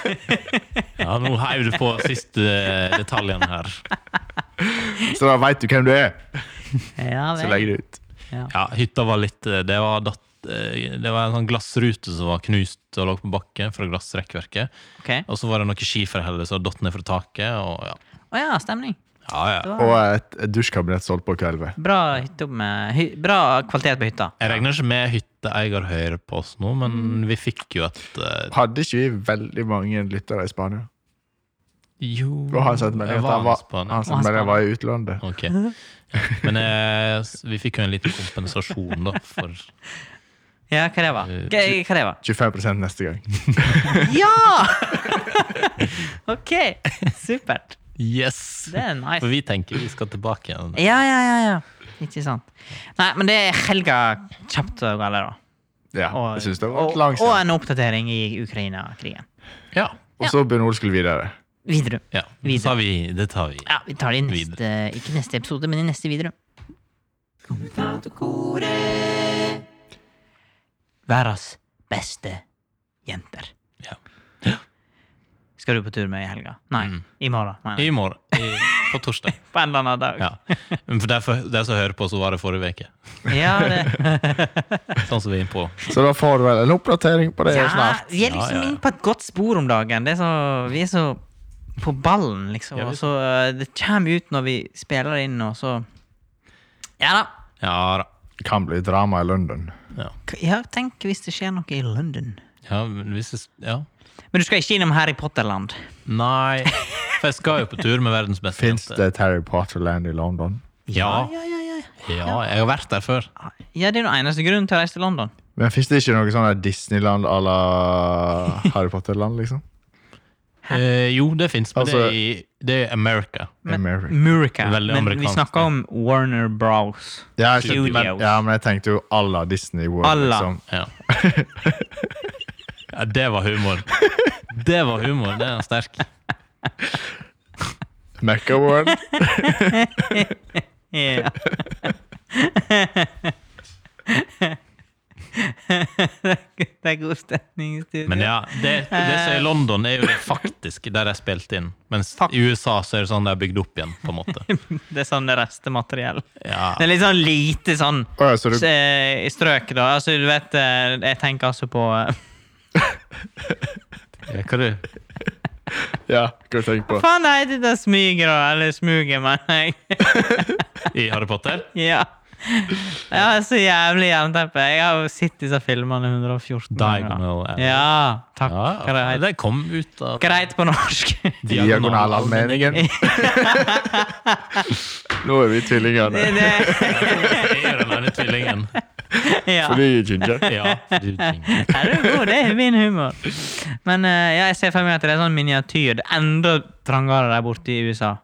Speaker 2: Ja, Nå heiv du på siste eh, detaljen her.
Speaker 3: Så da veit du hvem du er,
Speaker 1: Ja,
Speaker 3: så
Speaker 1: vel.
Speaker 3: legger du ut.
Speaker 2: Ja, hytta var litt eh, Det var, datt, eh, det var en sånn glassrute som var knust og lå på bakken fra glassrekkverket.
Speaker 1: Ok. Å
Speaker 2: Og så var det noen skiferheller som datt ned fra taket. Og ja.
Speaker 1: ja, stemning.
Speaker 2: Ja, ja.
Speaker 3: Og et et dusjkabinett solgt på kvelvet.
Speaker 1: Bra, hytte med, hy, bra kvalitet på hytta.
Speaker 2: Jeg regner ikke med hytteeier hører på oss nå, men vi fikk jo et eh,
Speaker 3: Hadde ikke vi veldig mange lyttere i Spania?
Speaker 2: Jo
Speaker 3: Og han sendte melding
Speaker 2: jeg
Speaker 3: at han
Speaker 2: var
Speaker 3: var,
Speaker 2: i Spania.
Speaker 3: han sendte melding at han var i utlandet.
Speaker 2: Ok. Ja. Men eh, s- vi fikk jo en liten kompensasjon, da, for
Speaker 1: Ja, hva det var?
Speaker 2: Eh,
Speaker 1: Hva, hva det var?
Speaker 3: 25 neste gang.
Speaker 1: Ja! ok, supert.
Speaker 2: Yes!
Speaker 1: Det er nice.
Speaker 2: For vi tenker vi skal tilbake igjen.
Speaker 1: Ja, ja, ja. ja. Ikke sant. Nei, men det er helga kjapt og gale, da.
Speaker 3: Ja, jeg synes det var
Speaker 1: og,
Speaker 3: et
Speaker 1: og
Speaker 3: langt
Speaker 1: og
Speaker 3: sted.
Speaker 1: en oppdatering i Ukraina-krigen.
Speaker 2: Ja.
Speaker 3: Og så Bjørn Ole skulle videre.
Speaker 1: Videre.
Speaker 2: ja.
Speaker 1: Videre.
Speaker 2: Det, tar vi, det tar vi.
Speaker 1: Ja, vi tar det i neste, ikke neste episode, men i neste videre. Verdens beste jenter.
Speaker 2: Ja.
Speaker 1: Skal du på tur med i helga? Nei,
Speaker 3: Mm.
Speaker 1: i morgen. Nei, nei.
Speaker 2: I morgen. I, på torsdag.
Speaker 1: På en eller annen dag.
Speaker 2: Ja. Men For derfor, de som hører på, så var det forrige uke.
Speaker 1: Ja, det,
Speaker 2: Sånn som vi er inne på.
Speaker 3: Så da får du vel en oppdatering på det
Speaker 1: ja,
Speaker 3: snart.
Speaker 1: vi er liksom
Speaker 2: Ja, ja, ja.
Speaker 1: inne på et godt spor om dagen. Det er så, vi er så på ballen, liksom.
Speaker 2: Ja, vi-
Speaker 1: Og så eh, det kommer ut når vi spiller inn, og så Ja da.
Speaker 2: Ja da.
Speaker 3: Det kan bli drama i London.
Speaker 2: Ja.
Speaker 1: K- Ja, tenk hvis det skjer noe i London.
Speaker 2: ja, men hvis jeg, s- ja.
Speaker 1: Men du skal ikke innom Harry Potter-land?
Speaker 2: Nei For jeg skal jo på tur med verdens beste
Speaker 3: Fins
Speaker 2: jente.
Speaker 3: det et Harry Potter-land i London?
Speaker 2: Ja,
Speaker 1: ja, ja, ja.
Speaker 2: ja, jeg har vært der før.
Speaker 1: Ja, det er den eneste grunnen til å reise til London.
Speaker 3: Men Fins det ikke noe sånn der Disneyland à la Harry Potter-land, liksom?
Speaker 2: Eh, jo, det fins, men det,
Speaker 3: Altså-
Speaker 2: er i, det er America.
Speaker 3: America.
Speaker 1: Murica.
Speaker 2: Veldig
Speaker 1: Men vi
Speaker 2: amerikansk,
Speaker 1: snakker
Speaker 2: ja.
Speaker 1: om Warner Bros.
Speaker 3: Ja, jeg skjønte, men,
Speaker 1: Studios.
Speaker 3: ja, men jeg tenkte jo à la Disney World.
Speaker 1: À la.
Speaker 3: Liksom.
Speaker 2: Ja. ja, det var humor. Det var humor, det er sterk.
Speaker 3: Mecca World.
Speaker 1: Ja. det er god stemning i studio.
Speaker 2: Men ja, det, det som er i London, er jo det faktisk der de spilte inn. Mens
Speaker 1: Fakt-
Speaker 2: i USA så er det sånn de er bygd opp igjen, på en måte.
Speaker 1: Det er sånn det restemateriell.
Speaker 2: Ja.
Speaker 1: Det er litt sånn lite sånn
Speaker 3: Å, ja, så du,
Speaker 1: eh, strøk, da. Altså, du vet eh, Jeg tenker altså på eh,
Speaker 2: Ja, Hva du?
Speaker 3: ja, hva tenker du på?
Speaker 1: Faen, nei, det der smyger, da. Eller smuget, mener jeg.
Speaker 2: I Harry Potter?
Speaker 1: Ja. Jeg har så jævlig jernteppe. Jeg har jo sett disse filmene 114
Speaker 2: Diagonal
Speaker 1: ganger.
Speaker 2: Alley.
Speaker 1: Ja, takk. Hva det
Speaker 2: Ja,
Speaker 1: heter
Speaker 2: det kom ut av
Speaker 1: Greit på norsk.
Speaker 3: Diagonalallmenningen. Nå er vi tvillingene.
Speaker 1: Det- det-
Speaker 2: Jeg er den ene tvillingen.
Speaker 1: ja.
Speaker 3: Fordi Ginger.
Speaker 2: Ja, du trenger
Speaker 1: Ja, det er god, det er min humor. Men eh, ja, jeg ser for meg at det er sånn miniatyr. Det er enda trangere der borte i USA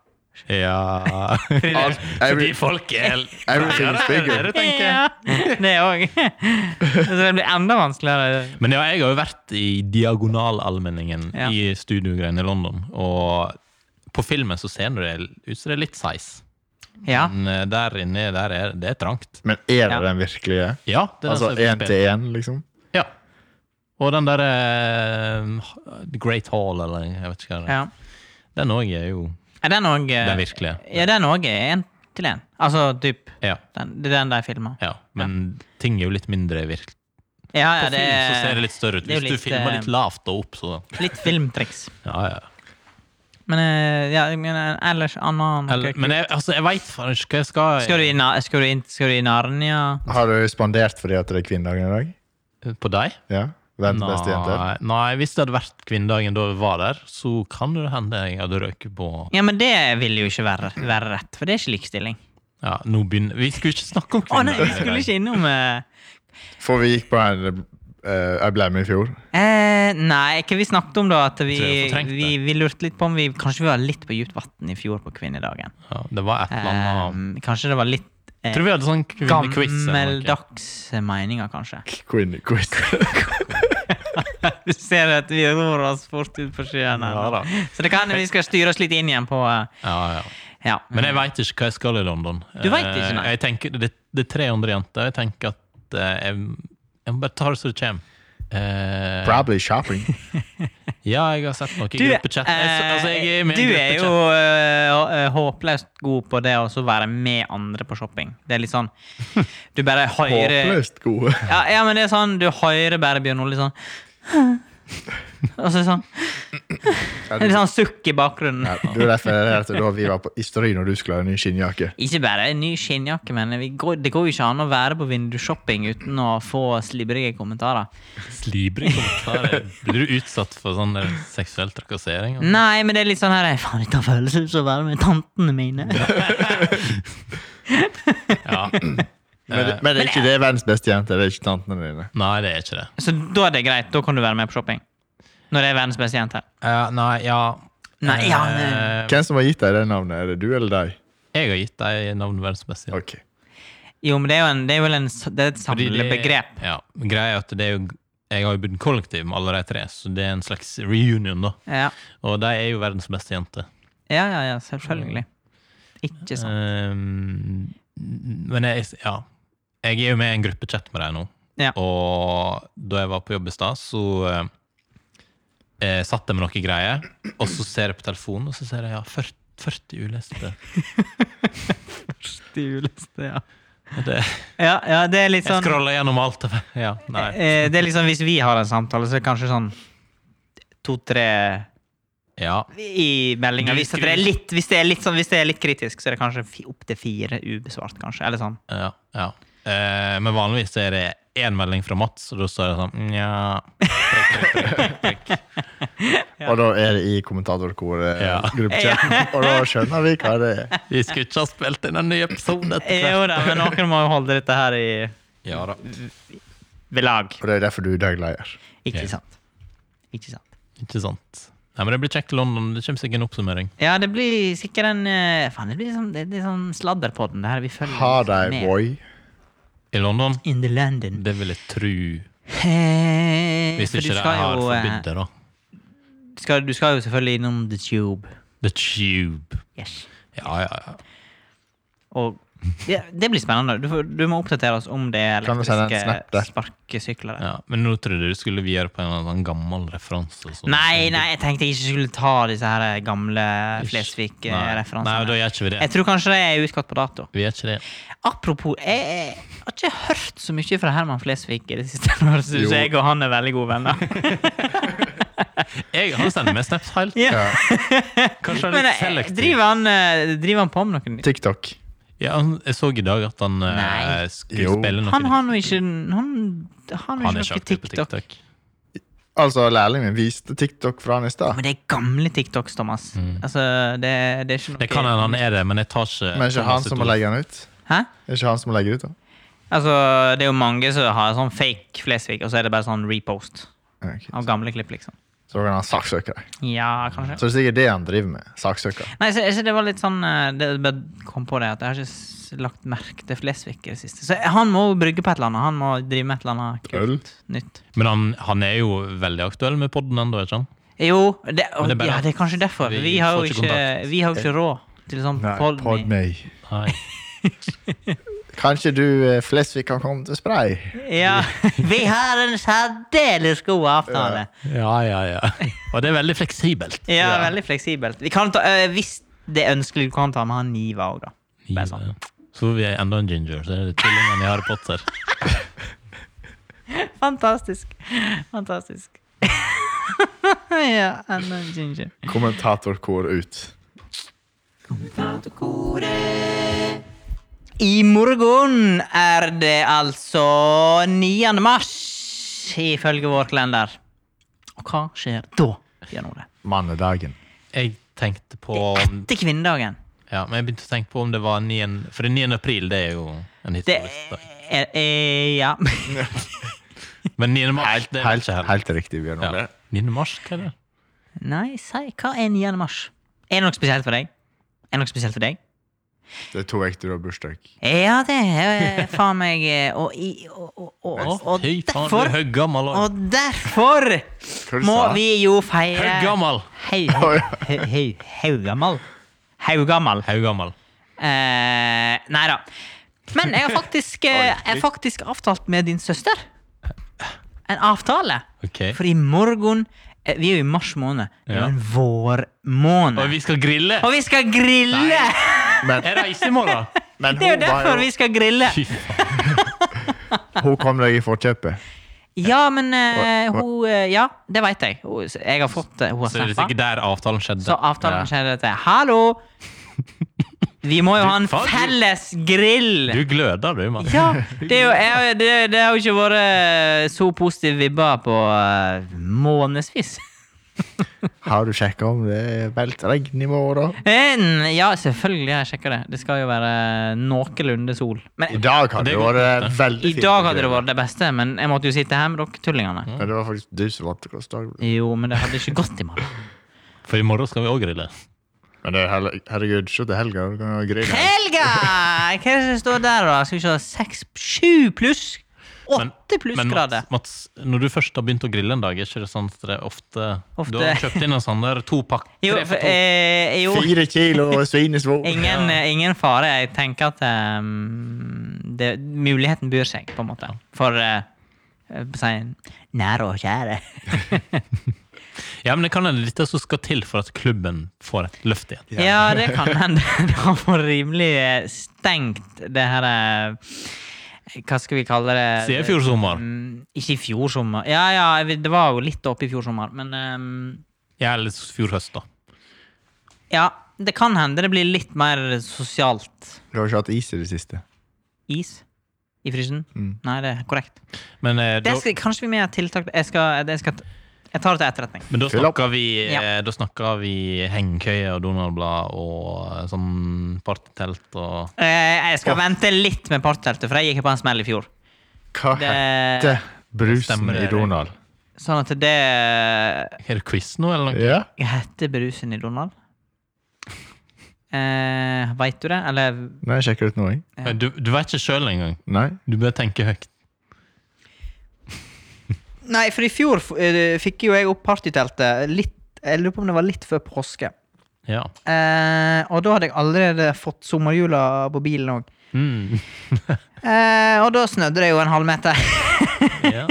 Speaker 2: Ja
Speaker 3: Alt-
Speaker 2: Fordi
Speaker 3: every-
Speaker 2: folk er helt
Speaker 3: Everything is
Speaker 2: Det er
Speaker 3: bigger.
Speaker 2: det, tenker jeg.
Speaker 1: Ja, det òg. Så det blir enda vanskeligere.
Speaker 2: Men ja, jeg har jo vært i diagonalallmenningen
Speaker 1: Ja.
Speaker 2: i studiogreiene i London. Og på filmen så ser det ut som det er litt size.
Speaker 1: Ja.
Speaker 2: Men eh, der inne der er det er trangt.
Speaker 3: Men er
Speaker 1: Ja.
Speaker 3: det den virkelige?
Speaker 2: Ja, det er
Speaker 3: Altså
Speaker 2: den som er
Speaker 3: én
Speaker 2: på
Speaker 3: til
Speaker 2: spill.
Speaker 3: én, liksom?
Speaker 2: Ja. Og den derre The Great Hall, eller jeg vet ikke hva det er.
Speaker 1: ja.
Speaker 2: Den òg er jo
Speaker 1: Er den òg
Speaker 2: den virkelige.
Speaker 1: Ja, den òg er én til én. Altså typ
Speaker 2: Ja.
Speaker 1: den, Det er den de filmer.
Speaker 2: ja. Men ting er jo litt mindre virkelig.
Speaker 1: Ja,
Speaker 2: På
Speaker 1: ja, det
Speaker 2: film så ser
Speaker 1: er
Speaker 2: det litt større ut.
Speaker 1: det er
Speaker 2: Hvis
Speaker 1: jo
Speaker 2: du
Speaker 1: litt,
Speaker 2: filmer
Speaker 1: eh,
Speaker 2: litt lavt og opp, så
Speaker 1: litt filmtriks.
Speaker 2: Ja, ja.
Speaker 1: Men eh, ja, jeg mener, ellers annen
Speaker 2: Eller, men jeg, altså, jeg veit faen ikke hva jeg skal
Speaker 1: Skal du i, Na- skal du inn- skal du i Narnia?
Speaker 3: Har du spandert fordi at det er kvinnedagen i dag?
Speaker 2: På deg?
Speaker 3: Ja? Verdens beste jenter?
Speaker 2: nei, hvis det hadde vært kvinnedagen da vi var der, så kan det hende jeg hadde røyket på
Speaker 1: Ja, men det vil jo ikke være, være rett, for det er ikke likestilling.
Speaker 2: Ja, nå begynner Vi skulle ikke snakke om
Speaker 1: Å nei, vi
Speaker 2: kvinnedagen. i
Speaker 1: skulle
Speaker 2: dag.
Speaker 1: ikke innom eh,
Speaker 3: For vi gikk på en eh, Jeg ble med i fjor.
Speaker 1: eh, Nei, hva vi snakket om da? At vi,
Speaker 2: tror jeg fortrengte.
Speaker 1: vi, vi lurte litt på om vi Kanskje vi var litt på dypt vann i fjor på kvinnedagen.
Speaker 2: Ja, det var et eller annet
Speaker 1: Eh, kanskje det var litt eh,
Speaker 2: Tror vi hadde sånn kvinnequiz. eller noe.
Speaker 1: gammeldagse meninger, kanskje.
Speaker 3: Queen, queen.
Speaker 1: Du ser at vi ror oss fort ut på skyene.
Speaker 2: Ja da.
Speaker 1: Så det kan hende vi skal styre oss litt inn igjen på eh,
Speaker 2: Ja, ja.
Speaker 1: Ja.
Speaker 2: Men jeg veit ikke hva jeg skal i London.
Speaker 1: Du vet ikke, nei.
Speaker 2: Eh, Jeg tenker, det, det er 300 jenter. Jeg tenker at eh, jeg, jeg må bare ta det som det kommer. Eh,
Speaker 3: Probably shopping.
Speaker 2: ja, jeg har sett noe i
Speaker 1: Du, eh,
Speaker 2: gruppechat. Jeg, altså, jeg er med i
Speaker 1: du er jo
Speaker 2: gruppechat.
Speaker 1: eh, eh, håpløst god på det å så være med andre på shopping. Det er litt sånn Du bare hører
Speaker 3: Håpløst gode.
Speaker 1: ja, ja, men det er sånn Du hører bare Bjørn Ole sånn Og så er det sånn
Speaker 3: Ja,
Speaker 1: Litt
Speaker 3: du,
Speaker 1: sånn sukk i bakgrunnen.
Speaker 3: ja, du refererer til da vi var på Isterøy når du skulle ha en ny skinnjakke.
Speaker 1: Ikke bare en ny skinnjakke, men vi går, det går jo ikke an å være på vindusshopping uten å få slibrige kommentarer.
Speaker 2: Slibrige kommentarer. Blir du utsatt for sånn der seksuell trakassering?
Speaker 1: Nei, men det er litt sånn her Faen, dette føles ut som å være med tantene mine.
Speaker 2: Ja. Eh.
Speaker 3: Men, det- men det er ikke det verdens beste jenter. Det er ikke tantene dine.
Speaker 2: Nei, det er ikke det.
Speaker 1: Så da er det greit. Da kan du være med på shopping. Når det er verdens beste jente.
Speaker 2: Eh, nei, ja
Speaker 1: Nei, ja,
Speaker 2: Eh,
Speaker 1: nei.
Speaker 3: Hvem som har gitt deg det navnet? Er det du eller deg?
Speaker 2: Jeg har gitt deg navnet verdens beste. jente.
Speaker 3: Ok.
Speaker 1: Jo, men det er jo en, det er vel en, s- det er et
Speaker 2: Fordi det-
Speaker 1: samlebegrep.
Speaker 2: Ja, greia er at det er jo jeg har jo bodd kollektiv med alle de tre, så det er en slags reunion. da.
Speaker 1: Ja.
Speaker 2: Og de er jo verdens beste jenter.
Speaker 1: ja, ja, ja, selvfølgelig. Ikke sånn. sant.
Speaker 2: Ehm, men jeg, ja, jeg er jo med i en gruppechat med deg nå.
Speaker 1: Ja.
Speaker 2: Og da jeg var på jobb i stad, så eh, eh, satt jeg med noen greier. Og så ser jeg på telefonen, og så ser jeg ja, 40, 40 uleste. Eh.
Speaker 1: Stileste, ja.
Speaker 2: Og det,
Speaker 1: Ja, ja, det er litt
Speaker 2: jeg
Speaker 1: sånn
Speaker 2: scroller gjennom alt. av- Ja, nei.
Speaker 1: eh, Det er liksom Hvis vi har en samtale, så er det kanskje sånn to-tre eh.
Speaker 2: Ja.
Speaker 1: i meldinga.
Speaker 2: Du
Speaker 1: Hvis, at det er
Speaker 2: skriver-
Speaker 1: litt- hvis, det er litt sånn, hvis det er litt kritisk, så er det kanskje opptil fire ubesvart, kanskje. Eller sånn.
Speaker 2: ja, ja. Eh, men vanligvis så er det én melding fra Mats, og da står det sånn Nja Prikk, prikk, prikk, prikk, prikk.
Speaker 3: Og da er det i kommentatorkoret.
Speaker 2: Ja.
Speaker 3: gruppechatten, Og da skjønner vi hva det er.
Speaker 2: Vi skulle ikke ha spilt inn en ny episode etter
Speaker 1: Eh, Jo
Speaker 2: hvert.
Speaker 1: da, men noen må jo holde dette her i
Speaker 2: Ja da.
Speaker 1: ved lag.
Speaker 3: Og det er derfor du er dagleder.
Speaker 1: Ikke
Speaker 2: Ja.
Speaker 1: sant? Ikke sant.
Speaker 2: Ikke sant. Nei, men Det blir kjekt i London. Det kommer sikkert en oppsummering.
Speaker 1: Ja, det blir sikkert en eh, Faen, det blir sånn, det, det er sånn sladderpodden. Det her vi følger
Speaker 3: Ha
Speaker 1: liksom
Speaker 3: deg,
Speaker 1: med.
Speaker 3: boy.
Speaker 2: I London?
Speaker 1: In the London.
Speaker 2: Det vil jeg tro.
Speaker 1: Eh,
Speaker 2: Hvis
Speaker 1: for du
Speaker 2: ikke de
Speaker 1: skal
Speaker 2: har
Speaker 1: jo, eh,
Speaker 2: forbudt det, da.
Speaker 1: du skal, du skal jo selvfølgelig innom The Tube.
Speaker 2: The Tube.
Speaker 1: Yes.
Speaker 2: Ja, ja, ja.
Speaker 1: Og det, det blir spennende. Du, får, du må oppdatere oss om det er
Speaker 3: Kan du sende en snap der?
Speaker 1: elektriske sparkesykler. der.
Speaker 2: ja. Men nå trodde jeg du skulle videre på en eller annen gammel referanse. sånn-
Speaker 1: Nei, nei, jeg tenkte jeg ikke skulle ta disse her eh, gamle
Speaker 2: Ikke- Nei. Nei, da
Speaker 1: Flesvig-referansene.
Speaker 2: gjør ikke vi det.
Speaker 1: Jeg tror kanskje det er utgått på dato.
Speaker 2: Vi gjør ikke det.
Speaker 1: Apropos, jeg, jeg har ikke hørt så mye fra Herman Flesvig i det siste. Nå
Speaker 3: Jo.
Speaker 1: synes jeg og han er veldig gode venner.
Speaker 2: Jeg, han sender meg snaps hele tiden.
Speaker 1: Ja.
Speaker 3: Ja.
Speaker 2: Kanskje han er
Speaker 1: Men
Speaker 2: litt
Speaker 1: eh,
Speaker 2: selektiv.
Speaker 1: driver han, eh, driver han på med noe nytt?
Speaker 3: TikTok.
Speaker 2: Ja, han, jeg så i dag at han eh,
Speaker 1: Nei.
Speaker 2: skulle
Speaker 3: Jo.
Speaker 2: spille noe.
Speaker 1: Han har nå ikke Han, han har
Speaker 2: Han
Speaker 1: jo ikke
Speaker 2: er ikke
Speaker 1: noe
Speaker 2: aktiv på
Speaker 1: TikTok.
Speaker 2: TikTok.
Speaker 3: Altså, lærlingen min viste TikTok fra han i stad.
Speaker 1: Men det er gamle TikToks, Thomas. Altså, det, det er ikke noe
Speaker 2: Mm. Det kan hende han er det, men jeg tar ikke sånn
Speaker 3: Men er ikke han som må legge den ut?
Speaker 1: Hæ?
Speaker 3: Er ikke han som må legge den ut, da?
Speaker 1: Altså, det er jo mange som har sånn fake Flesvig, og så er det bare sånn repost
Speaker 3: Ja, ok.
Speaker 1: av gamle klipp, liksom.
Speaker 3: Så da kan han saksøke deg.
Speaker 1: Ja, kanskje.
Speaker 3: Så det er sikkert det han driver med. Saksøker.
Speaker 1: Nei, så, så det var litt sånn eh, det, Jeg bare kom på det at jeg har ikke s- lagt merke til Flesvig i det siste. Så han må jo brygge på et eller annet. Han må drive med et eller annet kult.
Speaker 3: Øl?
Speaker 1: Nytt.
Speaker 2: Men han, han er jo veldig aktuell med podden ennå, ikke sant?
Speaker 1: Jo, det,
Speaker 2: Men det er bare
Speaker 1: ja,
Speaker 2: at
Speaker 1: det er kanskje derfor.
Speaker 2: vi
Speaker 1: Vi, har jo
Speaker 2: får ikke
Speaker 1: ikke,
Speaker 2: kontakt.
Speaker 1: vi har jo ikke råd til sånn
Speaker 3: pod
Speaker 1: Podme.
Speaker 3: meg.
Speaker 2: Nei.
Speaker 3: Kanskje du eh, Flesvig kan komme til Spray?
Speaker 1: Ja, vi har en særdeles god avtale.
Speaker 2: Ja, ja, ja. Og det er veldig fleksibelt.
Speaker 1: Ja, veldig fleksibelt. Vi kan ta, eh, hvis det er ønskelig, du kan ta med han Niva òg, da. Bare sånn.
Speaker 2: Så vi er enda en ginger, så er det tvillingene i Harry Potter.
Speaker 1: Fantastisk. Fantastisk. ja, enda en ginger.
Speaker 3: Kommentatorkor ut.
Speaker 1: I morgen er det altså 9. mars, ifølge vår kalender. Og hva skjer da, Bjørn Ole?
Speaker 3: Mannedagen.
Speaker 2: Jeg tenkte på om,
Speaker 1: Etter kvinnedagen.
Speaker 2: ja, men jeg begynte å tenke på om det var 9. For 9. april, det er jo en
Speaker 1: Det
Speaker 2: historisk dag.
Speaker 1: er, er Ja.
Speaker 2: Men 9. mars, det er
Speaker 3: Helt,
Speaker 2: ikke helt.
Speaker 3: helt riktig, Bjørn Ole.
Speaker 2: Ja. 9. mars, hva er det?
Speaker 1: Nei, si hva er 9. mars? Er det noe spesielt for deg? Er det noe spesielt for deg?
Speaker 3: Det er to uker til du har bursdag.
Speaker 1: Ja, det er faen meg eh, Og, i- og, og, og,
Speaker 2: Å,
Speaker 1: og
Speaker 2: fy faen, du er
Speaker 1: derfor
Speaker 2: høggammal òg.
Speaker 1: Og derfor
Speaker 3: Hva du
Speaker 1: må
Speaker 3: sa?
Speaker 1: vi jo feire
Speaker 2: Høggammal!
Speaker 1: Hei,
Speaker 3: Oi.
Speaker 1: hei, hei, Haugammal. Haugammal.
Speaker 2: Høggammal.
Speaker 1: Eh, nei da. Men jeg har faktisk, eh, jeg har faktisk avtalt med din søster. En avtale.
Speaker 2: Ok.
Speaker 1: For i morgen eh, Vi er jo i mars måned. Det er jo
Speaker 2: Ja.
Speaker 1: en vårmåned.
Speaker 2: Og vi skal grille!
Speaker 1: Og vi skal grille!
Speaker 3: Men,
Speaker 2: Jeg reiser i morgen!
Speaker 3: men
Speaker 1: Det er jo
Speaker 3: hun,
Speaker 1: derfor
Speaker 3: var
Speaker 1: vi
Speaker 3: jo,
Speaker 1: skal grille.
Speaker 2: Fy faen.
Speaker 3: hun kom deg i forkjøpet.
Speaker 1: Ja, men eh,
Speaker 3: Hva- hva-
Speaker 1: hun eh, Ja, det veit jeg. Hun, jeg har fått det. Hun har
Speaker 2: Så er det
Speaker 1: snappa.
Speaker 2: sikkert der avtalen skjedde.
Speaker 1: Så avtalen skjedde dette. Hallo! Vi må jo ha en
Speaker 2: faen, du-
Speaker 1: felles grill!
Speaker 2: Du gløder, du, mann.
Speaker 1: Ja, det, er jo, jeg, det, det har jo ikke vært eh, så positive vibber på uh, månedsvis.
Speaker 3: Har du sjekka om det er meldt regn i morgen?
Speaker 1: Men ja, selvfølgelig har jeg sjekka det. Det skal jo være noenlunde sol.
Speaker 3: I
Speaker 1: Men
Speaker 3: dag hadde
Speaker 2: Det
Speaker 3: det
Speaker 2: er godt
Speaker 3: vært eh, veldig
Speaker 1: i
Speaker 3: fint.
Speaker 1: dag hadde det vært det beste, men jeg måtte jo sitte her med dere tullingene.
Speaker 3: Men det var faktisk du som valgte hvilken dag det ble.
Speaker 1: Jo, men det hadde ikke gått i morgen.
Speaker 2: For i morgen skal vi òg grille.
Speaker 3: Men det er heller- herregud, se til helga. Du kan jo grille.
Speaker 1: Helga! Hva er det som står der, da? Skal vi se, seks, sju pluss?
Speaker 2: Men-
Speaker 1: Åtte
Speaker 2: Men Mats,
Speaker 1: plussgrader.
Speaker 2: Mats, når du først har begynt å grille en dag, er ikke det sånn at det er ofte,
Speaker 1: Ofte.
Speaker 2: Du har kjøpt inn en sånn der to pakk,
Speaker 1: Jo,
Speaker 2: tre
Speaker 1: for,
Speaker 2: for to.
Speaker 1: eh, jo.
Speaker 3: Fire kilo svinesvor.
Speaker 1: Ingen, ingen fare. Jeg tenker at ehm, det, muligheten byr seg, på en måte. For eh, eh, på å si, nære og kjære.
Speaker 2: Ja, men det kan hende dette som skal til for at klubben får et løft igjen.
Speaker 1: Ja, det kan hende. Det har vært rimelig eh, stengt, det her eh, Hva skal vi kalle det?
Speaker 2: Siden fjor sommer.
Speaker 1: Mm, ikke i fjor sommer. Ja, ja, jeg vet- det var jo litt oppe i fjor sommer, men ehm,
Speaker 2: Ja, eller fjor høst, da.
Speaker 1: Ja, det kan hende det blir litt mer sosialt
Speaker 3: Du har ikke hatt is i det siste.
Speaker 1: is i frysen.
Speaker 3: Mm.
Speaker 1: Nei, det er korrekt.
Speaker 2: Men, eh,
Speaker 1: Det
Speaker 2: da,
Speaker 1: skal, kanskje vi må ha tiltak Jeg, skal, jeg, skal, jeg tar det til etterretning.
Speaker 2: men da
Speaker 3: Fyll opp.
Speaker 2: snakker vi,
Speaker 1: Ja.
Speaker 2: eh, da snakker vi hengekøye og Donald-blad og eh, sånn partytelt og
Speaker 1: Eh, Jeg skal vente litt med partyteltet, for jeg gikk på en smell i fjor.
Speaker 3: Hva
Speaker 1: Det-
Speaker 3: heter brusen
Speaker 2: Stemmer det,
Speaker 3: i
Speaker 2: Erik.
Speaker 3: Donald?
Speaker 1: Sånn at det eh,
Speaker 2: Er det quiz nå, eller noe?
Speaker 3: Ja.
Speaker 1: heter brusen i Donald. Eh, Veit du det? Eller
Speaker 3: Nei, jeg sjekker ut nå, jeg.
Speaker 1: Ja.
Speaker 2: Eh, Du, du vet ikke sjøl engang.
Speaker 3: Nei.
Speaker 2: Du bør tenke høyt.
Speaker 1: Nei, for i fjor f- eh, fikk jo jeg opp partyteltet litt Jeg lurer på om det var litt før påske.
Speaker 2: Ja.
Speaker 1: Eh, og da hadde jeg allerede fått sommerhjula på bilen òg.
Speaker 2: Mm.
Speaker 1: Eh, og da snødde det jo en halvmeter.
Speaker 2: ja.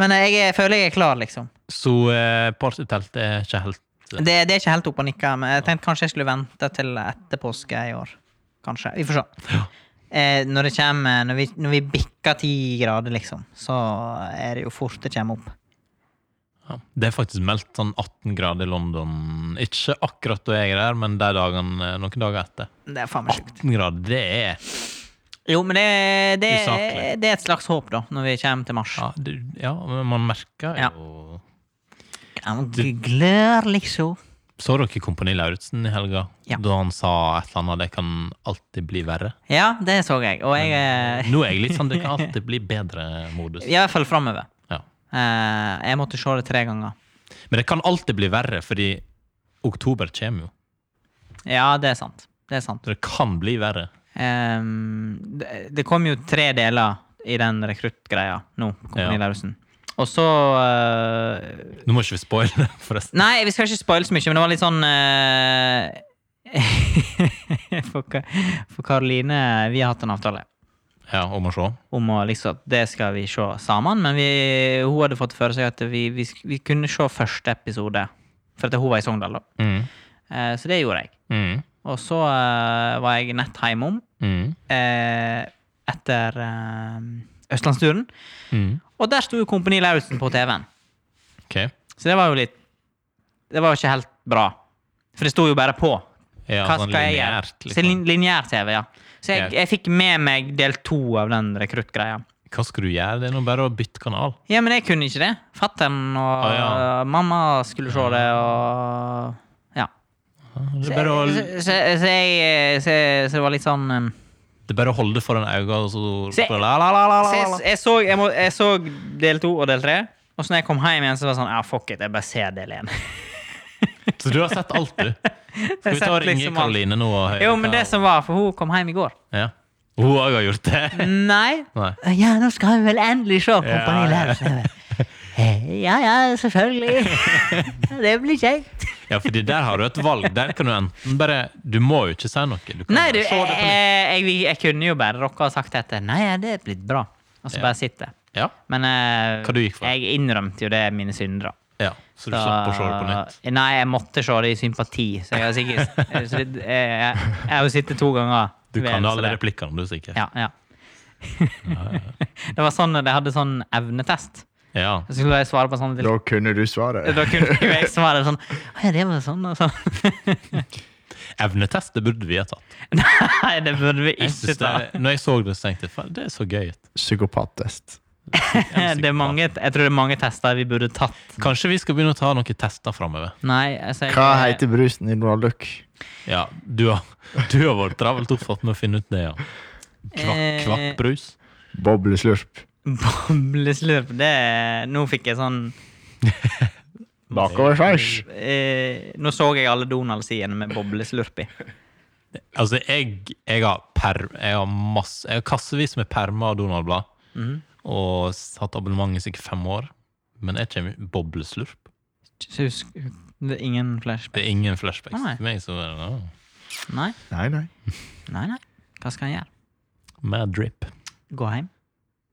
Speaker 1: Men jeg, er- føler jeg er klar, liksom.
Speaker 2: Så eh, partytelt er ikke helt eh,
Speaker 1: Det, det er ikke helt oppe og nikke, men jeg tenkte kanskje jeg skulle vente til etter påske i år. Kanskje. Vi får se. Eh, når, det kommer, når, vi, når vi bikker ti grader, liksom, så er det jo fort det kommer opp.
Speaker 2: Ja. Det er faktisk meldt sånn 18 grader i London. Ikke akkurat da jeg er der, men de dagene, eh, noen dager etter.
Speaker 1: Det er faen meg sjukt.
Speaker 2: 18 grader, det er
Speaker 1: Jo, men det, det,
Speaker 2: Usaklig.
Speaker 1: det er et slags håp, da, når vi kommer til mars.
Speaker 2: Ja, det, ja men man merker
Speaker 1: Ja.
Speaker 2: jo
Speaker 1: Jeg Glør, liksom.
Speaker 2: Så dere Kompani Lauritzen i helga?
Speaker 1: Ja.
Speaker 2: Da han sa et eller annet 'det kan alltid bli verre'?
Speaker 1: Ja, det så jeg. Og jeg eh,
Speaker 2: Nå er jeg litt sånn 'det kan alltid bli bedre'-modus.
Speaker 1: I hvert fall framover.
Speaker 2: Ja.
Speaker 1: Eh, jeg måtte se det tre ganger.
Speaker 2: Men det kan alltid bli verre, fordi oktober kommer jo.
Speaker 1: Ja, det er sant. Det er sant.
Speaker 2: Så det kan bli verre.
Speaker 1: Ehm, det, det kom jo tre deler i den rekruttgreia nå, Kompani
Speaker 2: Ja.
Speaker 1: Lauritzen. Og så eh,
Speaker 2: Nå må ikke vi spoile det, forresten.
Speaker 1: Nei, vi skal ikke spoile så mye, men det var litt sånn eh, for, Ka- for Karoline Vi har hatt en avtale
Speaker 2: Ja, om å se.
Speaker 1: om å liksom at det skal vi se sammen, men vi, hun hadde fått for seg at vi, vi, sk- vi kunne se første episode, for at hun var i Sogndal, da.
Speaker 2: Mm.
Speaker 1: Eh, så det gjorde jeg.
Speaker 2: Mm.
Speaker 1: Og så eh, var jeg nett hjemom
Speaker 2: Mm.
Speaker 1: eh, etter eh, Østlandsturen,
Speaker 2: Mm.
Speaker 1: og der sto jo Kompani Lauritzen på TV-en.
Speaker 2: Ok.
Speaker 1: Så det var jo litt Det var jo ikke helt bra. For det sto jo bare på.
Speaker 2: Ja,
Speaker 1: Hva
Speaker 2: sånn
Speaker 1: skal jeg gjøre?
Speaker 2: lineært,
Speaker 1: Så
Speaker 2: liksom.
Speaker 1: lin- Lineær-TV, ja. Så jeg,
Speaker 2: Ja.
Speaker 1: jeg fikk med meg del to av den rekruttgreia.
Speaker 2: Hva skal du gjøre? Det er nå bare å bytte kanal.
Speaker 1: Ja, men jeg kunne ikke det. Fattern og
Speaker 2: Ah, ja.
Speaker 1: øh, mamma skulle se det, og Ja.
Speaker 2: Det
Speaker 1: Så
Speaker 2: er bare å,
Speaker 1: jeg, så, så, så, jeg, så, så det var litt sånn um,
Speaker 2: det er bare å holde det foran øynene, og så
Speaker 1: Se-
Speaker 2: la, la, la, la,
Speaker 1: Så
Speaker 2: la,
Speaker 1: jeg,
Speaker 2: la.
Speaker 1: jeg, så, jeg, må, jeg så del to og del tre, og så når jeg kom hjem igjen, så var det sånn Ja, fuck it, jeg bare ser del én.
Speaker 2: Så du har sett alt, du? Skal vi ta og
Speaker 1: sett
Speaker 2: ringe
Speaker 1: liksom alt.
Speaker 2: Karoline nå? og høre
Speaker 1: Jo, men
Speaker 2: hva-
Speaker 1: det som var, for hun kom hjem i går.
Speaker 2: ja. Hun òg har gjort det?
Speaker 1: Nei.
Speaker 2: Nei.
Speaker 1: Ja, nå skal vi vel endelig se Kompani
Speaker 2: ja.
Speaker 1: Lauritzen. "Eh, Ja ja, selvfølgelig. Det blir kjekt.
Speaker 2: Ja, fordi der har du et valg. Der kan du enten bare Du må jo ikke si noe. Du kan
Speaker 1: Nei, du, eh, jeg,
Speaker 2: bare se det på nytt.
Speaker 1: jeg, jeg kunne jo bare rocka og sagt etter. Nei, ja, det er blitt bra. Og så
Speaker 2: Ja.
Speaker 1: bare sitte.
Speaker 2: Ja,
Speaker 1: Men eh,
Speaker 2: Hva du gikk for?
Speaker 1: jeg innrømte jo det er mine syndere.
Speaker 2: ja. Så du slapp å se det på nytt.
Speaker 1: Nei, jeg måtte se det i sympati. Så jeg har sikkert så det- jeg, jeg, jeg har jo sittet to ganger.
Speaker 2: Du
Speaker 1: ved
Speaker 2: kan
Speaker 1: en,
Speaker 2: jo
Speaker 1: så
Speaker 2: alle
Speaker 1: det-
Speaker 2: replikkene, du, sikkert.
Speaker 1: Ja, ja. det var sånn, De hadde sånn evnetest.
Speaker 2: Ja.
Speaker 1: Så skulle jeg svare på sånne til
Speaker 3: Da kunne du svaret.
Speaker 1: Da kunne jo jeg svare sånn «Å Ja, det var sånn og sånn.
Speaker 2: Evnetest, det burde vi ha tatt.
Speaker 1: Nei, det burde vi
Speaker 2: Jeg
Speaker 1: ikke
Speaker 2: synes
Speaker 1: ta.
Speaker 2: det, når jeg så det, så tenkte jeg faen, det er så gøy. ut.
Speaker 3: Psykopattest.
Speaker 2: Jeg
Speaker 1: Det er mange, jeg tror det er mange tester vi burde tatt.
Speaker 2: Kanskje vi skal begynne å ta noen tester framover.
Speaker 1: Nei, altså jeg,
Speaker 3: Hva heter brusen i Noaluc?
Speaker 2: Ja, du har, du har vært travelt opptatt med å finne ut det, ja.
Speaker 1: Eh,
Speaker 2: Kvakk, kvakkbrus.
Speaker 3: Bobleslurp.
Speaker 1: Bobleslurp, det er- Nå fikk jeg sånn
Speaker 3: Bakoversveis.
Speaker 1: eh, Nå så jeg alle Donald-sidene med bobleslurp i.
Speaker 2: Altså, jeg, jeg har per, jeg har masse, jeg har kassevis med permer og Donald-blad. Og s- hatt abonnement i sikkert fem år. Men jeg kommer jo- bobleslurp.
Speaker 1: Så husk- Det er ingen flashback.
Speaker 2: Det er ingen flashbacks.
Speaker 1: Nei.
Speaker 2: Til meg så er det åh,
Speaker 1: Nei,
Speaker 3: Nei, nei.
Speaker 1: nei, nei. Hva skal han gjøre?
Speaker 2: mad drip.
Speaker 1: Gå hjem?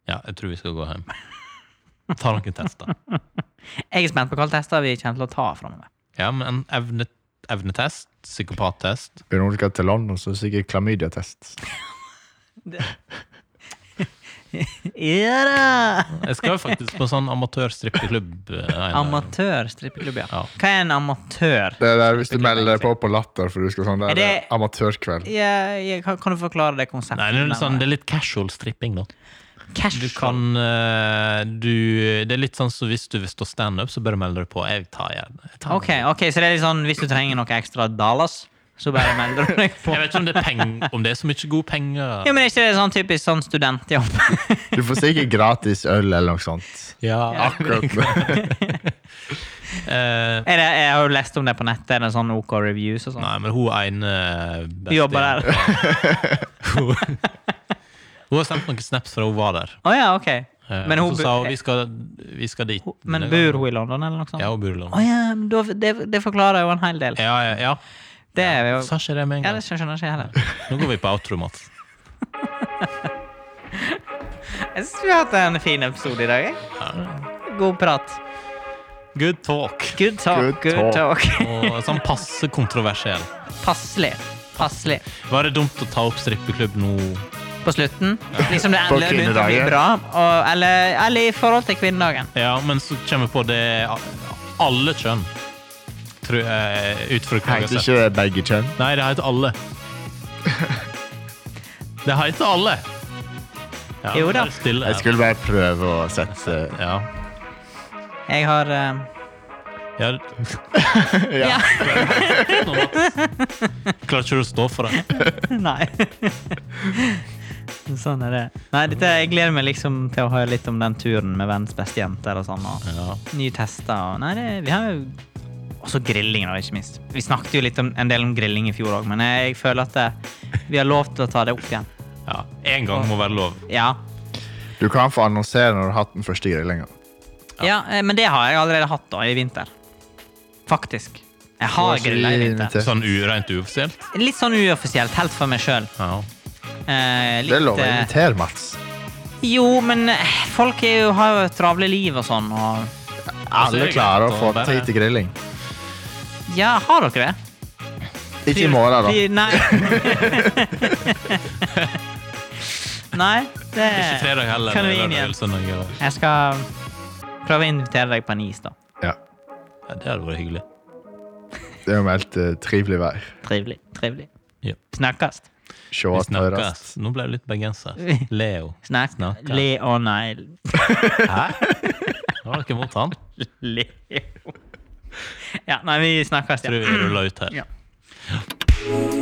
Speaker 2: Ja, jeg tror vi skal gå hjem. Ta noen tester.
Speaker 1: Jeg er spent på hvilke tester vi kommer til å ta framover.
Speaker 2: Ja, men en evne, evnetest, psykopattest
Speaker 3: Når du skal til London, så er det sikkert klamydiatest.
Speaker 1: Ja da!
Speaker 2: Jeg skal jo faktisk på sånn amatørstrippeklubb. eh, en-
Speaker 1: Amatør strippeklubb, ja.
Speaker 2: Ja.
Speaker 1: Hva er en amatør?
Speaker 3: Det er der hvis du melder deg på på Latter, for du skal sånn der
Speaker 1: Er det-
Speaker 3: amatørkveld.
Speaker 1: Ja, ja, kan, kan du forklare det konseptet?
Speaker 2: Nei, det er, litt sånn, det
Speaker 1: nærmere?
Speaker 2: er litt casual stripping, da.
Speaker 1: Cash
Speaker 2: Du kan eh, du, Det er litt sånn som hvis du vil stå standup, så bør du melde deg på. Jeg tar gjerne. Jeg, tar
Speaker 1: Ok,
Speaker 2: gjerne.
Speaker 1: ok, så det er litt sånn hvis du trenger noe ekstra Dallas, så bare melder du deg på.
Speaker 2: jeg vet ikke om det er, peng, om det er så mye gode penger.
Speaker 1: Ja, men er ikke det sånn typisk sånn studentjobb?
Speaker 3: Du får sikkert gratis øl eller noe sånt.
Speaker 2: Ja.
Speaker 3: Akkurat.
Speaker 2: Eh,
Speaker 1: Er det, jeg har jo lest om det på nettet, er det sånn OK reviews og sånn?
Speaker 2: nei, men hun ene eh, beste
Speaker 1: Du jobber der?
Speaker 2: Hun hun har sendt noen snaps fra hun var der.
Speaker 1: Å ja, ok.
Speaker 2: Eh,
Speaker 1: Men hun
Speaker 2: så
Speaker 1: bu-
Speaker 2: sa hun vi skal, vi skal dit.
Speaker 1: Men bor hun i London eller noe sånt?
Speaker 2: Ja, hun bor i
Speaker 1: Å
Speaker 2: London.
Speaker 1: ja, men da, det, det forklarer jo en hel del.
Speaker 2: Ja, Sånn, ja, ja.
Speaker 1: Det er jo...
Speaker 2: Sa ikke det med en
Speaker 1: Ja, det
Speaker 2: gang.
Speaker 1: skjønner jeg ikke heller.
Speaker 2: Nå går vi på outro, Mats.
Speaker 1: Jeg synes vi har hatt en fin episode i dag, jeg. God prat.
Speaker 2: Good talk.
Speaker 1: Good talk,
Speaker 3: Good
Speaker 1: good talk.
Speaker 2: Og sånn passe kontroversiell.
Speaker 1: Passelig. Passelig.
Speaker 2: Var det dumt å ta opp strippeklubb nå?
Speaker 1: På slutten. Liksom det
Speaker 3: På
Speaker 1: endelig begynte å bli
Speaker 3: kvinnedagen.
Speaker 1: bra. Og, eller, eller i forhold til kvinnedagen.
Speaker 2: Ja, men så kommer vi på det er alle kjønn. Tror jeg, ut fra hva jeg
Speaker 3: Heter
Speaker 2: har sett.
Speaker 3: ikke det begge kjønn?
Speaker 2: Nei, det heter alle. Det heter alle. Ja,
Speaker 1: Jo da.
Speaker 2: vær Stille,
Speaker 3: Jeg skulle bare prøve å sette
Speaker 2: Ja.
Speaker 1: Jeg har... eh,
Speaker 2: ja.
Speaker 1: Ja.
Speaker 2: Nå, Mats. Klarer ikke du å stå for det?
Speaker 1: Nei. Sånn er det. Nei, dette, jeg gleder meg liksom til å høre litt om den turen med verdens beste jenter og sånn. Og
Speaker 2: Ja.
Speaker 1: nye tester. Og, nei, det, vi har jo også grillingen, da, ikke minst. Vi snakket jo litt om, en del om grilling i fjor òg, men jeg føler at eh, vi har lov til å ta det opp igjen.
Speaker 2: ja. En gang må være lov.
Speaker 1: Ja.
Speaker 3: Du kan få annonsere når du har hatt den første grillinga.
Speaker 1: ja, eh, men det har jeg allerede hatt da, i vinter. Faktisk. Jeg
Speaker 3: var
Speaker 1: har
Speaker 3: ikke
Speaker 1: grilla i vinter.
Speaker 3: invitert.
Speaker 2: Sånn urent uoffisielt.
Speaker 1: Litt sånn uoffisielt, helt for meg sjøl.
Speaker 2: Ja.
Speaker 1: Eh,
Speaker 3: Det er lov
Speaker 1: litt,
Speaker 3: å
Speaker 1: eh,
Speaker 3: invitere, Mats.
Speaker 1: Jo, men eh, folk er jo, har jo et travle liv og sånn, og
Speaker 2: er
Speaker 3: Alle
Speaker 2: det
Speaker 3: klarer å
Speaker 2: greit
Speaker 3: få
Speaker 2: å bare-
Speaker 3: tid til grilling.
Speaker 1: Ja, har dere det?
Speaker 3: Ikke i morgen, da.
Speaker 1: Pri- Nei. Nei, det
Speaker 2: Ikke fredag heller.
Speaker 1: Kan vi
Speaker 2: eller
Speaker 1: inn igjen?
Speaker 2: søndag, eller-
Speaker 1: Jeg skal prøve å invitere deg på en is, da.
Speaker 3: Ja.
Speaker 2: Ja, det hadde vært hyggelig.
Speaker 3: Det er jo meldt eh, trivelig vær.
Speaker 1: Trivelig. Trivelig.
Speaker 2: Ja.
Speaker 1: Snakkast.
Speaker 3: Se
Speaker 2: Vi
Speaker 3: at høres.
Speaker 2: snakkes. Nå ble det litt bergenser. Leo.
Speaker 1: Snakk.
Speaker 2: Snakkast.
Speaker 1: Leonel.
Speaker 2: Hæ? Var dere mot han?
Speaker 1: Leo. Ja, nei, vi snakkast,
Speaker 2: Tror
Speaker 1: ja.
Speaker 2: vi ruller ut her.
Speaker 1: ja.